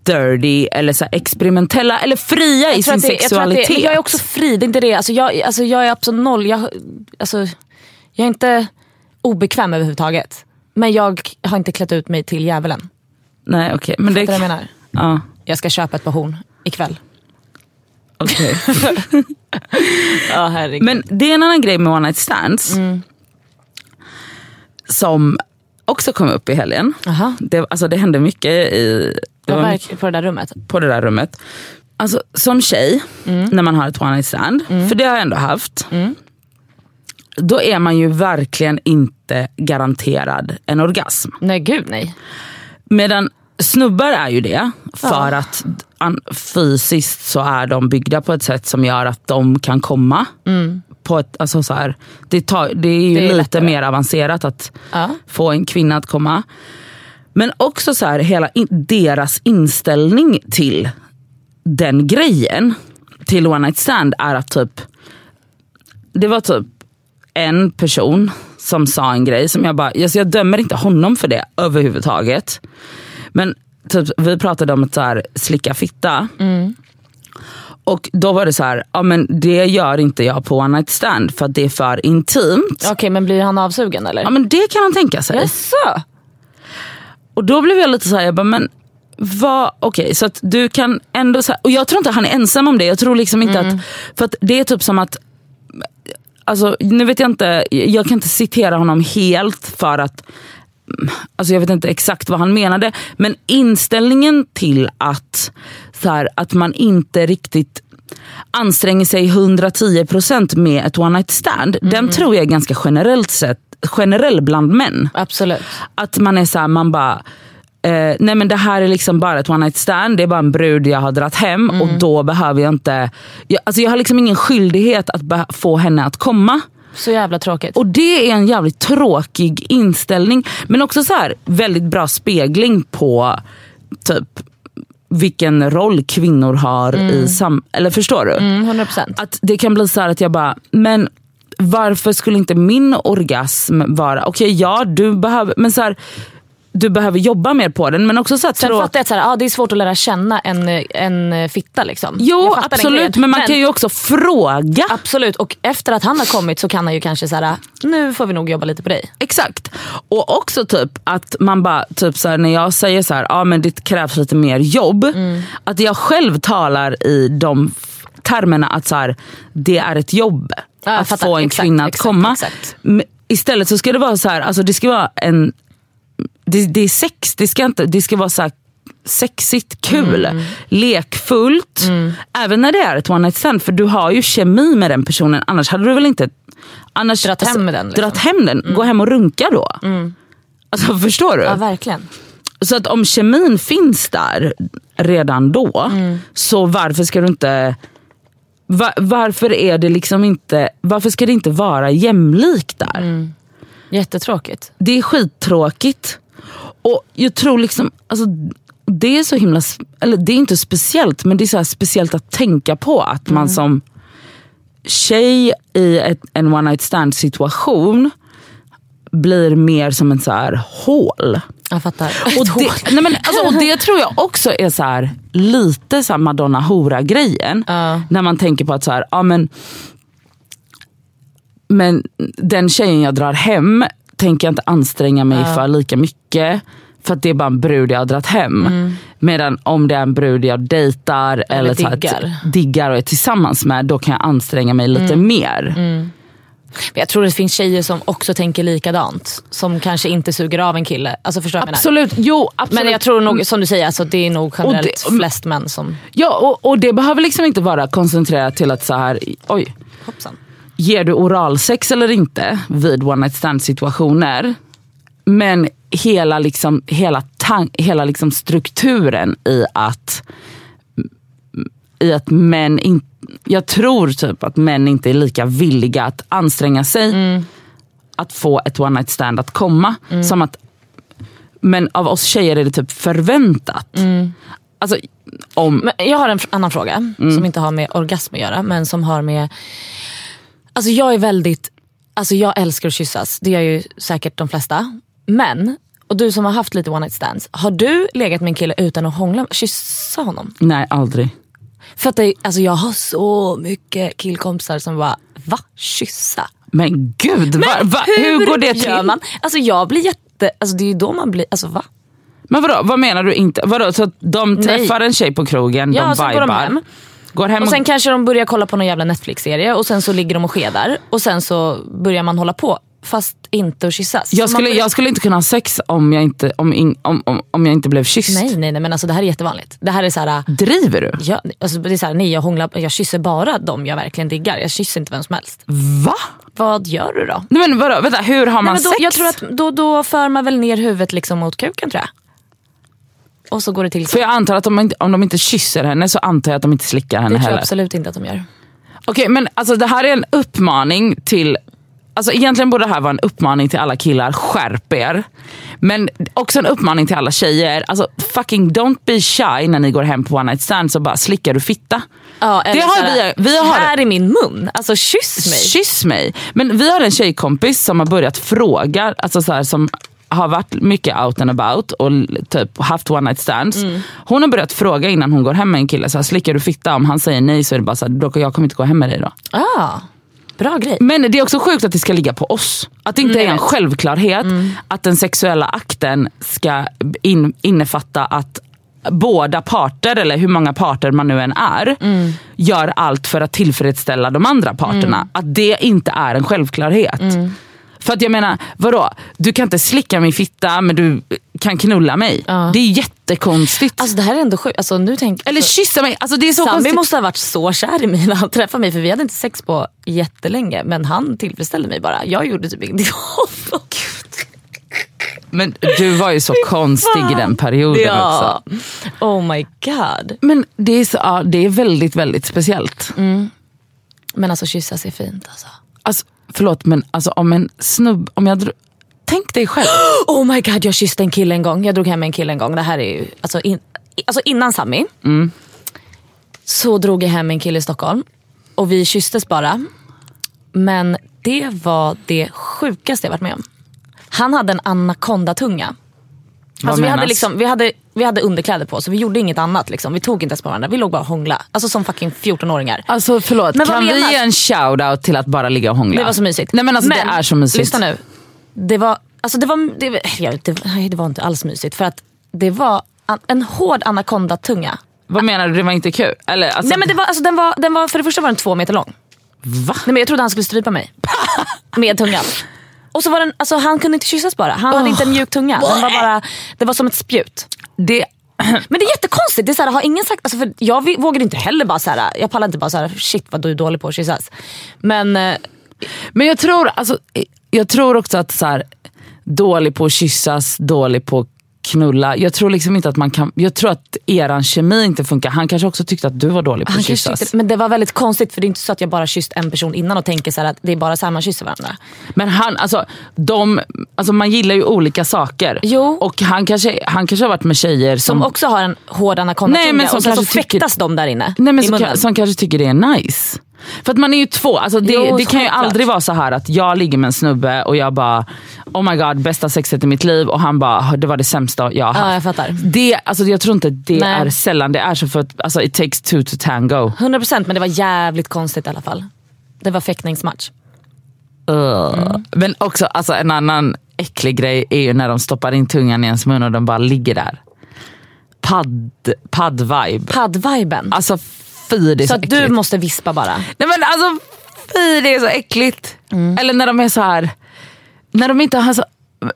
S3: dirty eller så här experimentella eller fria i
S2: Jag tror
S3: sin
S2: att det- jag tror att det-
S3: sexualitet.
S2: men Jag är också fri, det är inte det. Alltså jag, alltså jag är absolut noll. Jag, alltså, jag är inte obekväm överhuvudtaget. Men jag har inte klätt ut mig till djävulen.
S3: Nej okej. Men det,
S2: Fattar du vad jag menar?
S3: ja,
S2: Jag ska köpa ett par horn ikväll.
S3: okej.
S2: Ja, herregud.
S3: Men det är en annan grej med one night stands. Som också kom upp i helgen.
S2: Aha.
S3: Det, alltså det hände mycket i... Det
S2: Jag
S3: var
S2: var
S3: mycket
S2: verk- på det där rummet.
S3: på det där rummet. Alltså som tjej, när man har ett one night stand, för det har jag ändå haft. Då är man ju verkligen inte garanterad en orgasm.
S2: Nej gud nej.
S3: Medan snubbar är ju det, för att an- fysiskt så är de byggda på ett sätt som gör att de kan komma. På ett, alltså så här, det, tar, det är ju
S2: Mm. Det är
S3: lite
S2: lättare.
S3: mer avancerat att
S2: Ja.
S3: få en kvinna att komma. Men också så här, hela in, deras inställning till den grejen, till one night stand, är att typ, det var typ en person som sa en grej som jag bara, alltså jag dömer inte honom för det överhuvudtaget. Men typ, vi pratade om att så här, slicka fitta. Och då var det så här, ja men det gör inte jag på one night stand för att det är för intimt.
S2: Okej men blir han avsugen eller?
S3: Ja men det kan han tänka sig.
S2: Jaså?
S3: Och då blev jag lite så här, jag bara men vad, okej så att du kan ändå så här, och jag tror inte han är ensam om det. Jag tror liksom inte att, för att det är typ som att Alltså nu vet jag inte, jag kan inte citera honom helt för att Alltså jag vet inte exakt vad han menade, men inställningen till att, så här, att man inte riktigt anstränger sig 110% med ett one night stand, den tror jag är ganska generellt sett, generell bland män.
S2: Absolut.
S3: Att man är såhär, man bara eh, Nej men det här är liksom bara ett one night stand, det är bara en brud jag har dratt hem och då behöver jag inte jag, alltså jag har liksom ingen skyldighet att be- få henne att komma.
S2: Så jävla tråkigt.
S3: Och det är en jävligt tråkig inställning. Men också så här väldigt bra spegling på typ vilken roll kvinnor har i sam... Eller förstår du?
S2: Mm, 100%.
S3: Att det kan bli så här att jag bara, men varför skulle inte min orgasm vara, okej ja du behöver, men så här, du behöver jobba mer på den men också så här,
S2: Sen
S3: trå-
S2: fattar jag att så här, ah, det är svårt att lära känna en, en fitta. Liksom. Jag
S3: Jo
S2: fattar den grejen.
S3: absolut men man kan ju också fråga.
S2: Absolut, och efter att han har kommit så kan han ju kanske säga nu får vi nog jobba lite på dig.
S3: Exakt. Och också typ att man bara, typ så här, när jag säger så här, ah, men det krävs lite mer jobb.
S2: Mm.
S3: Att jag själv talar i de f- termerna att så här, det är ett jobb.
S2: Ja, jag
S3: att
S2: fattar.
S3: få en
S2: Exakt,
S3: kvinna att
S2: exakt,
S3: komma.
S2: exakt.
S3: Men Istället så ska det vara så här, alltså det ska vara en, det, det är sex, det ska, inte, det ska vara så här sexigt, kul,
S2: Mm.
S3: lekfullt. Även när det är ett one night stand för du har ju kemi med den personen annars hade du väl inte annars,
S2: Dratt hem den, liksom. Mm.
S3: dratt hem den. Gå hem och runka då. Alltså förstår du?
S2: Ja verkligen.
S3: Så att om kemin finns där redan då,
S2: Mm.
S3: så varför ska du inte va- varför är det liksom inte, varför ska det inte vara jämlikt
S2: Mm.
S3: där?
S2: Jättetråkigt.
S3: Det är skittråkigt. Och jag tror liksom, alltså, det är så himla, s- eller det är inte speciellt men det är så här speciellt att tänka på att man som tjej i ett, en one night stand situation blir mer som en så här hål.
S2: Jag fattar.
S3: Och det, nej men, alltså, och det tror jag också är så här, lite så här Madonna hora-grejen.
S2: Ja.
S3: När man tänker på att så här, ja, men, men den tjejen jag drar hem tänker jag inte anstränga mig för lika mycket. För att det är bara en brud jag har dragit hem. Medan om det är en brud jag dejtar eller,
S2: Mm. Eller
S3: så här,
S2: diggar.
S3: diggar och är tillsammans med, då kan jag anstränga mig lite
S2: Mm.
S3: mer.
S2: Men jag tror det finns tjejer som också tänker likadant. Som kanske inte suger av en kille. Alltså förstår du vad jag menar?
S3: Absolut, jo absolut.
S2: Men jag tror nog, som du säger, alltså, det är nog generellt
S3: Mm. Och det-
S2: flest män som...
S3: ja, och, och det behöver liksom inte vara koncentrerat till att så här, oj.
S2: Hoppsan.
S3: ger du oralsex eller inte vid one night stand situationer. Men hela, liksom, hela, tan- hela liksom strukturen i att, i att män in- jag tror typ att män inte är lika villiga att anstränga sig att få ett one night stand att komma. Som att, men av oss tjejer är det typ förväntat. Alltså, om, Mm.
S2: Men jag har en fr- annan fråga som inte har med orgasm att göra men som har med Alltså jag är väldigt, alltså jag älskar att kyssas. Det gör ju säkert de flesta. Men, och du som har haft lite one night stands. Har du legat med en kille utan att hångla, kyssa honom?
S3: Nej, aldrig.
S2: För att det, alltså jag har så mycket killkompisar som bara, va? Kyssa?
S3: Men gud, va, va, hur, går det
S2: gör
S3: till?
S2: man? Alltså jag blir jätte, alltså det är ju då man blir, alltså va?
S3: Men vadå, vad menar du inte? Vadå, så att de träffar en tjej på krogen,
S2: Ja,
S3: de
S2: sen går de hem.
S3: Går hem
S2: Och
S3: och,
S2: sen kanske de börjar kolla på någon jävla Netflix-serie och sen så ligger de och skedar och sen så börjar man hålla på fast inte att kyssas.
S3: jag,
S2: Så
S3: skulle,
S2: man,
S3: jag skulle inte kunna ha sex om jag inte, om, in, om, om, om jag inte blev kysst.
S2: Nej nej nej men alltså det här är jättevanligt. Det här är så här, äh,
S3: Driver du?
S2: jag, alltså det är så här nej jag hånglar, jag kysser bara dem jag verkligen diggar. Jag kysser inte vem som helst.
S3: Va?
S2: Vad gör du då?
S3: Nej, men vadå, vänta, hur har man
S2: Nej, men då,
S3: sex?
S2: jag tror att då, då för man väl ner huvudet liksom mot kuken tror jag. Och så går det till så.
S3: För jag antar att om, man inte, om de inte kysser henne så antar jag att de inte slickar henne
S2: Det tror jag
S3: heller.
S2: absolut inte att de gör.
S3: Okej men alltså det här är en uppmaning till, alltså egentligen borde det här vara en uppmaning till alla killar, skärp er. Men också en uppmaning till alla tjejer, alltså fucking don't be shy när ni går hem på one night stand så bara slickar du fitta.
S2: Ja, eller
S3: Det har
S2: så här,
S3: vi- vi har-
S2: Här i min mun, alltså kyss mig.
S3: Kyss mig. Men vi har en tjejkompis som har börjat fråga, alltså så här, som har varit mycket out and about och l- typ haft one night stands.
S2: Mm.
S3: Hon har börjat fråga innan hon går hem med en kille, så här, slickar du fitta? Om han säger nej så är det bara så här, "Då- jag kommer inte gå hem med dig då.
S2: Ah, bra grej.
S3: Men det är också sjukt att det ska ligga på oss. Att det inte
S2: Mm.
S3: är en självklarhet att den sexuella akten ska in, innefatta att båda parter, eller hur många parter man nu än är,
S2: Mm.
S3: gör allt för att tillfredsställa de andra parterna. Att det inte är en självklarhet.
S2: Mm.
S3: För att jag menar, vadå? Du kan inte slicka min fitta men du kan knulla mig.
S2: Ja.
S3: Det är jättekonstigt.
S2: Alltså det här är ändå sjukt. Alltså, nu tänk...
S3: eller kyssa mig, alltså det är så
S2: Sami
S3: konstigt.
S2: måste ha varit så kär i mig när han träffade mig för vi hade inte sex på jättelänge men han tillfredsställde mig bara. Jag gjorde typ ingenting åt honom.
S3: Men du var ju så konstig i den perioden också.
S2: Ja. Oh my god.
S3: Men det är, så, ja, det är väldigt, väldigt speciellt.
S2: Men alltså kyssas är fint alltså.
S3: Alltså, förlåt, men alltså, om en snubb... Om jag dro- Tänk dig själv.
S2: Oh my god jag kysste en kille en gång. Jag drog hem en kille en gång. Det här är ju, alltså, in, alltså innan Sami.
S3: Mm.
S2: Så drog jag hem en kille i Stockholm. Och vi kysstes bara. Men det var det sjukaste jag varit med om. Han hade en anakondatunga. Alltså, vi,
S3: menas?
S2: hade liksom, vi, hade, vi hade underkläder på så vi gjorde inget annat. Liksom. Vi tog inte ens på varandra. Vi låg bara och hånglade. Alltså som fucking 14-åringar.
S3: Alltså förlåt,
S2: Men vad
S3: kan vi
S2: menas?
S3: ge en shout-out till att bara ligga och hångla?
S2: Det var så mysigt.
S3: Nej men alltså det är så mysigt.
S2: Lyssna nu. Det var, alltså det var, det, ja, det, nej, det var inte alls mysigt för att det var an, en hård anakondatunga.
S3: Vad menar du, det var inte kul? Eller, alltså,
S2: Nej men det var, alltså den var, den var, för det första var den två meter lång.
S3: Va?
S2: Nej, men jag trodde han skulle strypa mig. Med tungan. Och så var den, alltså han kunde inte kyssas bara. Han hade inte en mjuk tunga. Den var bara, det var som ett spjut.
S3: Oh. Det,
S2: Men det är jättekonstigt. Det är så här, har ingen sagt, alltså för jag vi- vågar inte heller bara så här, jag pallar inte bara så här, shit vad du är dålig på att kyssas. Men eh,
S3: men jag tror, alltså, jag tror också att så här, dålig på att kyssas, dålig på att knulla. Jag tror liksom inte att man kan... Jag tror att eran kemi inte funkar. Han kanske också tyckte att du var dålig på
S2: Han
S3: att
S2: kanske
S3: kyssas.
S2: tyckte, men det var väldigt konstigt för det är inte så att jag bara kysst en person innan och tänker så här att det är bara så här man kysser varandra.
S3: Men han, alltså, de, alltså man gillar ju olika saker.
S2: Jo.
S3: Och han kanske, han kanske har varit med tjejer som,
S2: Som också har en hård
S3: Nej,
S2: anakondatunga
S3: men som
S2: och sen så
S3: kanske
S2: fäktas de där inne
S3: nej, men
S2: i
S3: som,
S2: munnen.
S3: ka- som kanske tycker det är nice. För att man är ju två, alltså det,
S2: Jo,
S3: det kan ju
S2: självklart.
S3: aldrig vara så här att jag ligger med en snubbe och jag bara oh my god bästa sexet i mitt liv och han bara det var det sämsta jag har
S2: ja,
S3: haft.
S2: jag fattar.
S3: Det, alltså jag tror inte det
S2: Nej.
S3: är sällan det är så för att alltså, it takes two to tango.
S2: 100% men det var jävligt konstigt i alla fall. Det var fäktningsmatch.
S3: Men också alltså, en annan äcklig grej är ju när de stoppar in tungan i ens mun och de bara ligger där. Padd, padd-vibe.
S2: Paddviben.
S3: Alltså fy det är så,
S2: så att
S3: äckligt.
S2: du måste vispa bara.
S3: Nej men alltså fy det är så äckligt.
S2: Mm.
S3: Eller när de är så här. När de inte har så...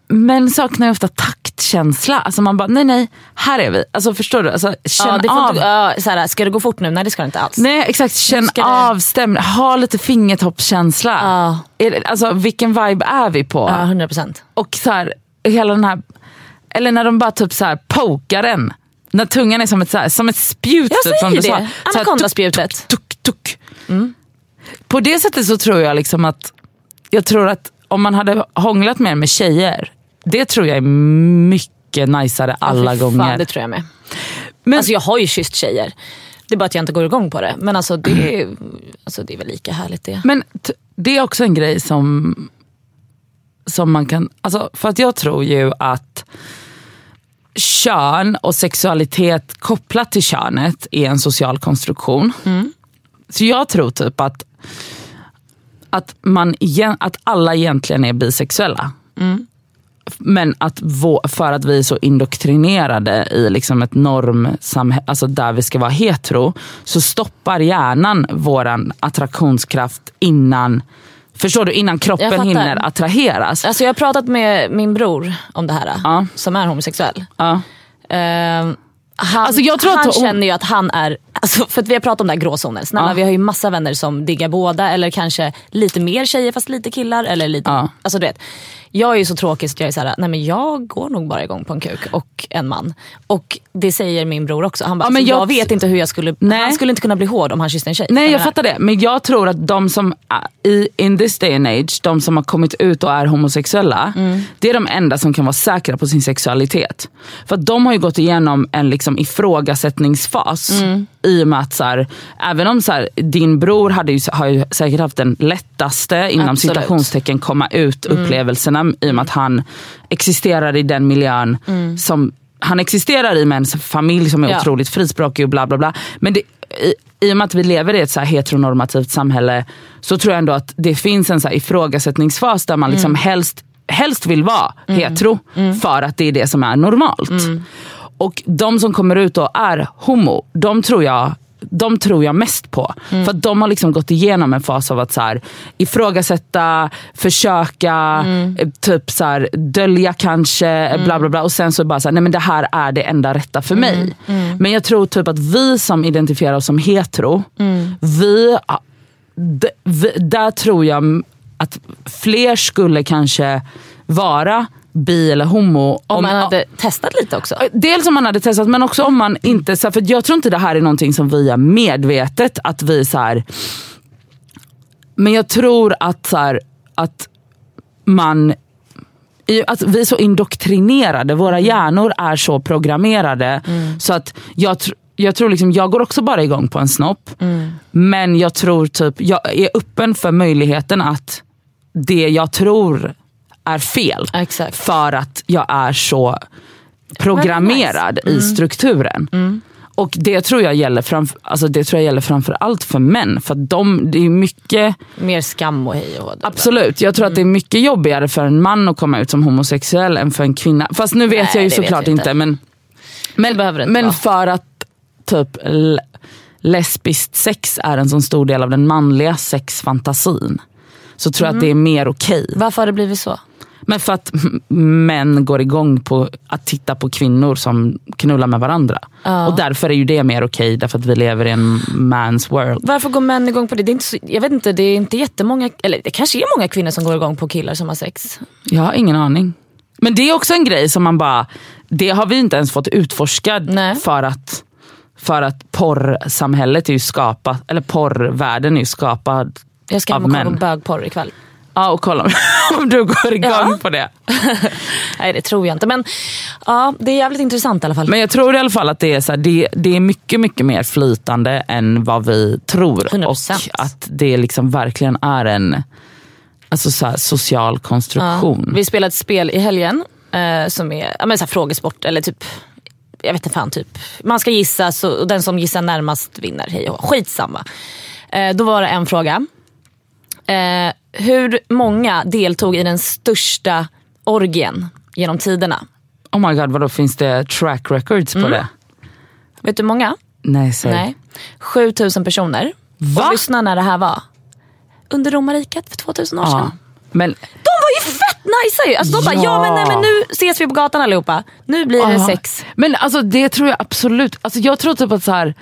S3: Män saknar ju ofta taktkänsla. Alltså man bara nej nej, här är vi. Alltså förstår du? Alltså, känn
S2: Ja, det får
S3: av.
S2: inte, ja, så här, ska det gå fort nu? Nej det ska det inte alls.
S3: Nej exakt, känn
S2: Ska det-
S3: av stämningen. Ha lite fingertoppskänsla.
S2: Ja.
S3: Är det- Alltså vilken vibe är vi på?
S2: Ja, 100%.
S3: Och så här, hela den här... Eller när de bara typ så här pokar en. När tungan är som ett, så här, som ett spjut. typ,
S2: Jag
S3: som
S2: säger
S3: du
S2: det.
S3: sa. Så här, tuk,
S2: Anakondaspjutet.
S3: tuk, tuk. På det sättet så tror jag liksom att jag tror att om man hade hånglat mer med tjejer, det tror jag är mycket najsare alla
S2: Fy fan,
S3: gånger.
S2: Det tror jag med.
S3: Men-
S2: Alltså jag har ju kysst tjejer. Det är bara att jag inte går igång på det. Men alltså det är, alltså, det är väl lika härligt det.
S3: Men t- Det är också en grej som, som man kan... Alltså, för att jag tror ju att kön och sexualitet kopplat till könet är en social konstruktion. Så jag tror typ att, att, man, igen- att alla egentligen är bisexuella. Men att vå, för att vi är så indoktrinerade i liksom ett normsamhälle, alltså där vi ska vara hetero, så stoppar hjärnan våran attraktionskraft innan Förstår du? Innan kroppen
S2: fattar.
S3: hinner attraheras.
S2: Alltså jag har pratat med min bror om det här,
S3: Ja.
S2: som är homosexuell.
S3: Ja.
S2: Ehm, han
S3: Alltså, jag tror att
S2: han
S3: hon-
S2: känner ju att han är, alltså, för att vi har pratat om den här gråzonen. Snälla
S3: Ja.
S2: vi har ju massa vänner som diggar båda eller kanske lite mer tjejer fast lite killar. Eller lite,
S3: Ja.
S2: alltså, du vet. Jag är ju så tråkig så att jag är såhär, nej men jag går nog bara igång på en kuk och en man. Och det säger min bror också. Han bara,
S3: Ja, men
S2: alltså, jag,
S3: jag-
S2: vet inte hur jag skulle,
S3: Nej.
S2: han skulle inte kunna bli hård om han kysste en tjej.
S3: Nej jag
S2: menar-
S3: fattar det, men jag tror att de som äh, i in this day and age, de som har kommit ut och är homosexuella, det är de enda som kan vara säkra på sin sexualitet. För att de har ju gått igenom en liksom ifrågasättningsfas i och med att så här, även om så här, din bror hade ju, har ju säkert haft den lättaste inom
S2: Absolut.
S3: citationstecken komma ut upplevelserna i och med att han existerar i den miljön som han existerar i med en familj som är
S2: Ja.
S3: otroligt frispråkig och bla bla bla. Men det, i, i och med att vi lever i ett så här heteronormativt samhälle så tror jag ändå att det finns en så här ifrågasättningsfas där man liksom helst, helst vill vara hetero för att det är det som är normalt. Och de som kommer ut och är homo, de tror jag de tror jag mest på.
S2: Mm.
S3: För att de har liksom gått igenom en fas av att så här, ifrågasätta, försöka,
S2: Mm.
S3: eh, typ så här, dölja kanske, mm. bla bla bla. Och sen så bara så här, nej men det här är det enda rätta för
S2: Mm.
S3: mig. Men jag tror typ att vi som identifierar oss som hetero,
S2: Mm.
S3: vi, d, vi, där tror jag m- att fler skulle kanske vara bi eller homo
S2: Om han hade testat lite också.
S3: Dels om man hade testat men också om man inte, så här, för jag tror inte det här är någonting som vi är medvetet att vi så här. Men jag tror att, så här, att man i- att vi är så indoktrinerade, våra hjärnor är så programmerade. Så att jag, tr- jag tror liksom, jag går också bara igång på en snopp. Men jag tror typ, jag är öppen för möjligheten att det jag tror är fel.
S2: Exakt.
S3: För att jag är så programmerad i
S2: Mm.
S3: strukturen. Och det tror, jag gäller framf- alltså det tror jag gäller framför allt för män. För att de, det är mycket
S2: Mer skam och hej och hå.
S3: Absolut, jag tror att det är
S2: Mm.
S3: mycket jobbigare för en man att komma ut som homosexuell än för en kvinna. Fast nu vet
S2: Nej,
S3: jag ju
S2: det vet
S3: såklart
S2: jag inte.
S3: inte. Men, men,
S2: behöver det inte
S3: men
S2: vara.
S3: för att typ l- lesbiskt sex är en sån stor del av den manliga sexfantasin. Så tror jag
S2: Mm.
S3: att det är mer okej.
S2: Varför har det blivit så?
S3: Men för att män går igång på att titta på kvinnor som knullar med varandra. Och därför är ju det mer okej, därför att vi lever i en man's world.
S2: Varför går män igång på det? det är inte så, jag vet inte, det är inte jättemånga, eller det kanske är många kvinnor som går igång på killar som har sex.
S3: Jag har ingen aning. Men det är också en grej som man bara, det har vi inte ens fått utforskad
S2: Nej.
S3: för att för att porrsamhället är ju skapat, eller porrvärlden är ju skapad
S2: Jag ska
S3: av
S2: hem och kolla på
S3: män.
S2: bögporr ikväll.
S3: Ja och kolla om, om du går igång
S2: Ja.
S3: på det.
S2: Nej det tror jag inte men ja, det är jävligt intressant i alla fall.
S3: Men jag tror i alla fall att det är, så här, det, det är mycket, mycket mer flytande än vad vi tror.
S2: 100%.
S3: Och att det liksom verkligen är en alltså så här, social konstruktion.
S2: Ja, vi spelade ett spel i helgen eh, som är ja, men så här, frågesport eller typ jag vet inte fan typ. Man ska gissa så, och den som gissar närmast vinner. Hej och hå. Skitsamma. Eh, då var det en fråga. Eh, hur många deltog i den största orgien genom tiderna?
S3: Oh my god, vadå finns det track records på det?
S2: Vet du hur många?
S3: Nej, säg.
S2: Nej. 7000 personer.
S3: Va?
S2: Och lyssna när det här var. Under romarriket för 2000 år
S3: Ja.
S2: sedan.
S3: Men
S2: De var ju fett najsa ju! Alltså de bara,
S3: Ja.
S2: ja men, nej, men nu ses vi på gatan allihopa. Nu blir det
S3: Ja.
S2: sex.
S3: Men alltså det tror jag absolut. Alltså, jag tror typ att så här.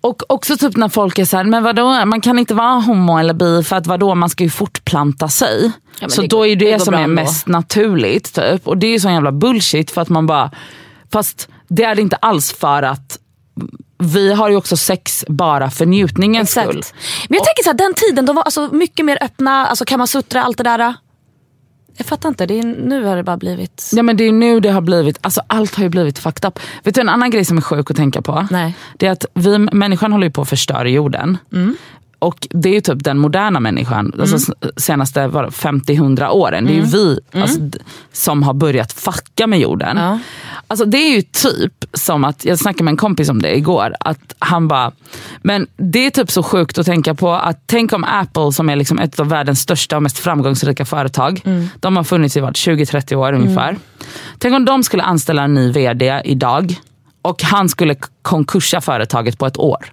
S3: Och också typ när folk är såhär, men vadå man kan inte vara homo eller bi för att vadå man ska ju fortplanta sig.
S2: men
S3: så
S2: det
S3: då
S2: går-
S3: är ju
S2: det
S3: det,
S2: går
S3: som
S2: bra
S3: är
S2: ändå.
S3: mest naturligt typ. Och det är ju sån jävla bullshit för att man bara, fast det är det inte alls för att vi har ju också sex bara för njutningens
S2: Exakt.
S3: skull.
S2: Men jag tänker så här, den tiden de var alltså mycket mer öppna, alltså kan man suttra allt det där. Jag fattar inte, det är, nu har det bara blivit...
S3: Ja men det är ju nu det har blivit, alltså allt har ju blivit fucked up. Vet du en annan grej som är sjuk att tänka på?
S2: Nej.
S3: Det är att vi, människan håller ju på att förstöra jorden. Och det är ju typ den moderna människan, alltså s- senaste vad, 50-100 åren. Det är ju vi alltså, d- som har börjat fucka med jorden.
S2: Ja.
S3: Alltså det är ju typ som att, jag snackade med en kompis om det igår, att han bara, men det är typ så sjukt att tänka på att tänk om Apple som är liksom ett av världens största och mest framgångsrika företag, de har funnits i vad, 20-30 år ungefär. Tänk om de skulle anställa en ny vd idag och han skulle k- konkursa företaget på ett år.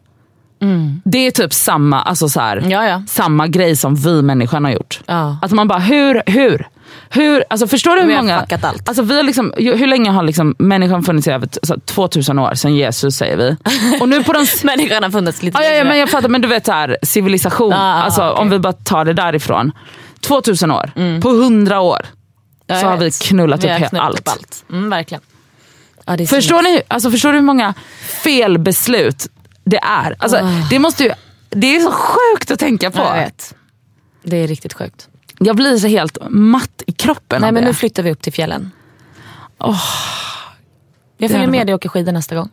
S3: Det är typ samma, alltså så här,
S2: Mm. Ja, ja.
S3: samma grej som vi människan har gjort.
S2: Ja.
S3: Att man bara, hur, hur? Hur, alltså förstår du hur
S2: Vi har
S3: många...
S2: fuckat allt.
S3: Alltså vi har liksom, ju- hur länge har liksom människan funnits i över t- så här 2000 år sedan Jesus säger vi? Och nu på de... s-
S2: Människan har funnits lite
S3: ja, ja, ja,
S2: längre.
S3: men jag fattar, men du vet så här, civilisation,
S2: Ja, ja,
S3: alltså, om vi bara tar det därifrån. 2000 år, på 100 år
S2: Mm. Ja, jag
S3: så har vi
S2: vet.
S3: knullat
S2: Vi
S3: upp
S2: har
S3: helt
S2: knullat
S3: allt.
S2: upp allt. Mm, verkligen. Ja, det är
S3: Förstår
S2: synd.
S3: ni, alltså, förstår du hur många felbeslut det är? Alltså, det, måste ju, det är så sjukt att tänka på.
S2: Ja, Ah. jag vet. Det är riktigt sjukt.
S3: Jag blir så helt matt i kroppen
S2: Nej
S3: av
S2: men
S3: det.
S2: nu flyttar vi upp till fjällen. jag
S3: hade
S2: följer
S3: varit-
S2: med dig och åker skidor nästa gång.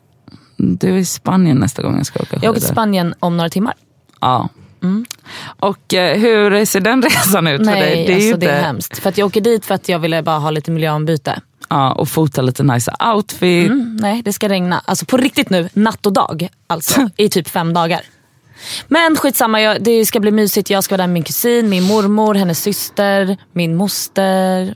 S3: Du är i Spanien nästa gång jag ska åka skidor.
S2: Jag åker till Spanien om några timmar.
S3: Ja. Och eh, hur ser den resan ut för dig?
S2: Nej,
S3: ju
S2: alltså, det är
S3: inte-
S2: hemskt. För att jag åker dit för att jag ville bara ha lite miljöombyte.
S3: Ja, och fota lite nice outfit.
S2: Mm, nej, det ska regna. Alltså på riktigt nu, natt och dag. Alltså i typ fem dagar. Men skitsamma, jag, det ska bli mysigt. Jag ska vara där med min kusin, min mormor, hennes syster, min moster.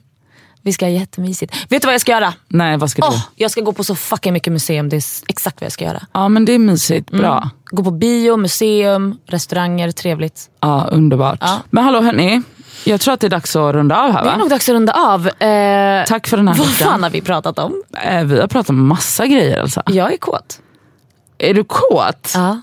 S2: Vi ska ha jättemysigt. Vet du vad jag ska göra?
S3: Nej, vad ska du?
S2: Åh, jag ska gå på så fucking mycket museum. Det är s- exakt vad jag ska göra.
S3: Ja, men det är mysigt. Bra.
S2: Gå på bio, museum, restauranger, trevligt.
S3: Ja, underbart. Men hallå hörni, jag tror att det är dags att runda av här
S2: Det är
S3: va?
S2: nog dags att runda av. Eh,
S3: Tack för den här
S2: vad fan
S3: veckan.
S2: har vi pratat om?
S3: Eh, Vi har pratat om massa grejer alltså.
S2: Jag är kåt.
S3: Är du kåt?
S2: Ja.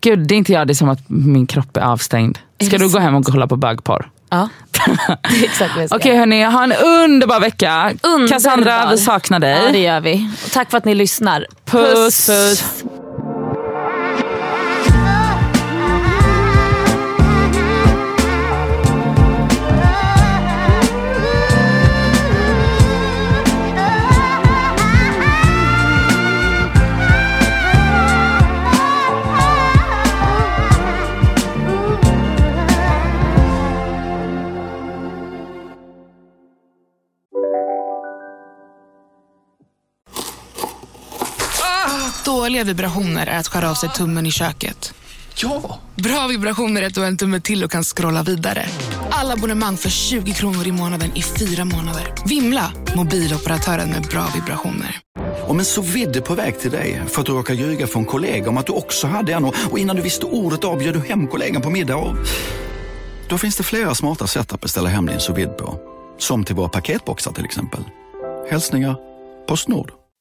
S3: Gud, det är inte jag. Det är som att min kropp är avstängd. Ska
S2: det
S3: du gå hem och kolla på bögporr?
S2: ja. Det är exakt vad jag ska
S3: Okej
S2: göra.
S3: hörni, ha en underbar vecka.
S2: Underbar.
S3: Cassandra, vi saknar dig.
S2: Ja, det gör vi. Och tack för att ni lyssnar.
S3: Puss. Puss.
S6: Dåliga vibrationer är att skära av sig tummen i köket.
S7: Ja!
S6: Bra vibrationer är att du har en tumme till och kan scrolla vidare. Alla abonnemang för 20 kronor i månaden i fyra månader. Vimla! Mobiloperatören med bra vibrationer.
S7: Om en så vidde på väg till dig för att du råkar ljuga från kollega om att du också hade en och och innan du visste ordet av bjöd du hem kollegan på middag och... Då finns det flera smarta sätt att beställa hem din sous vide på. Som till våra paketboxar till exempel. Hälsningar Postnord.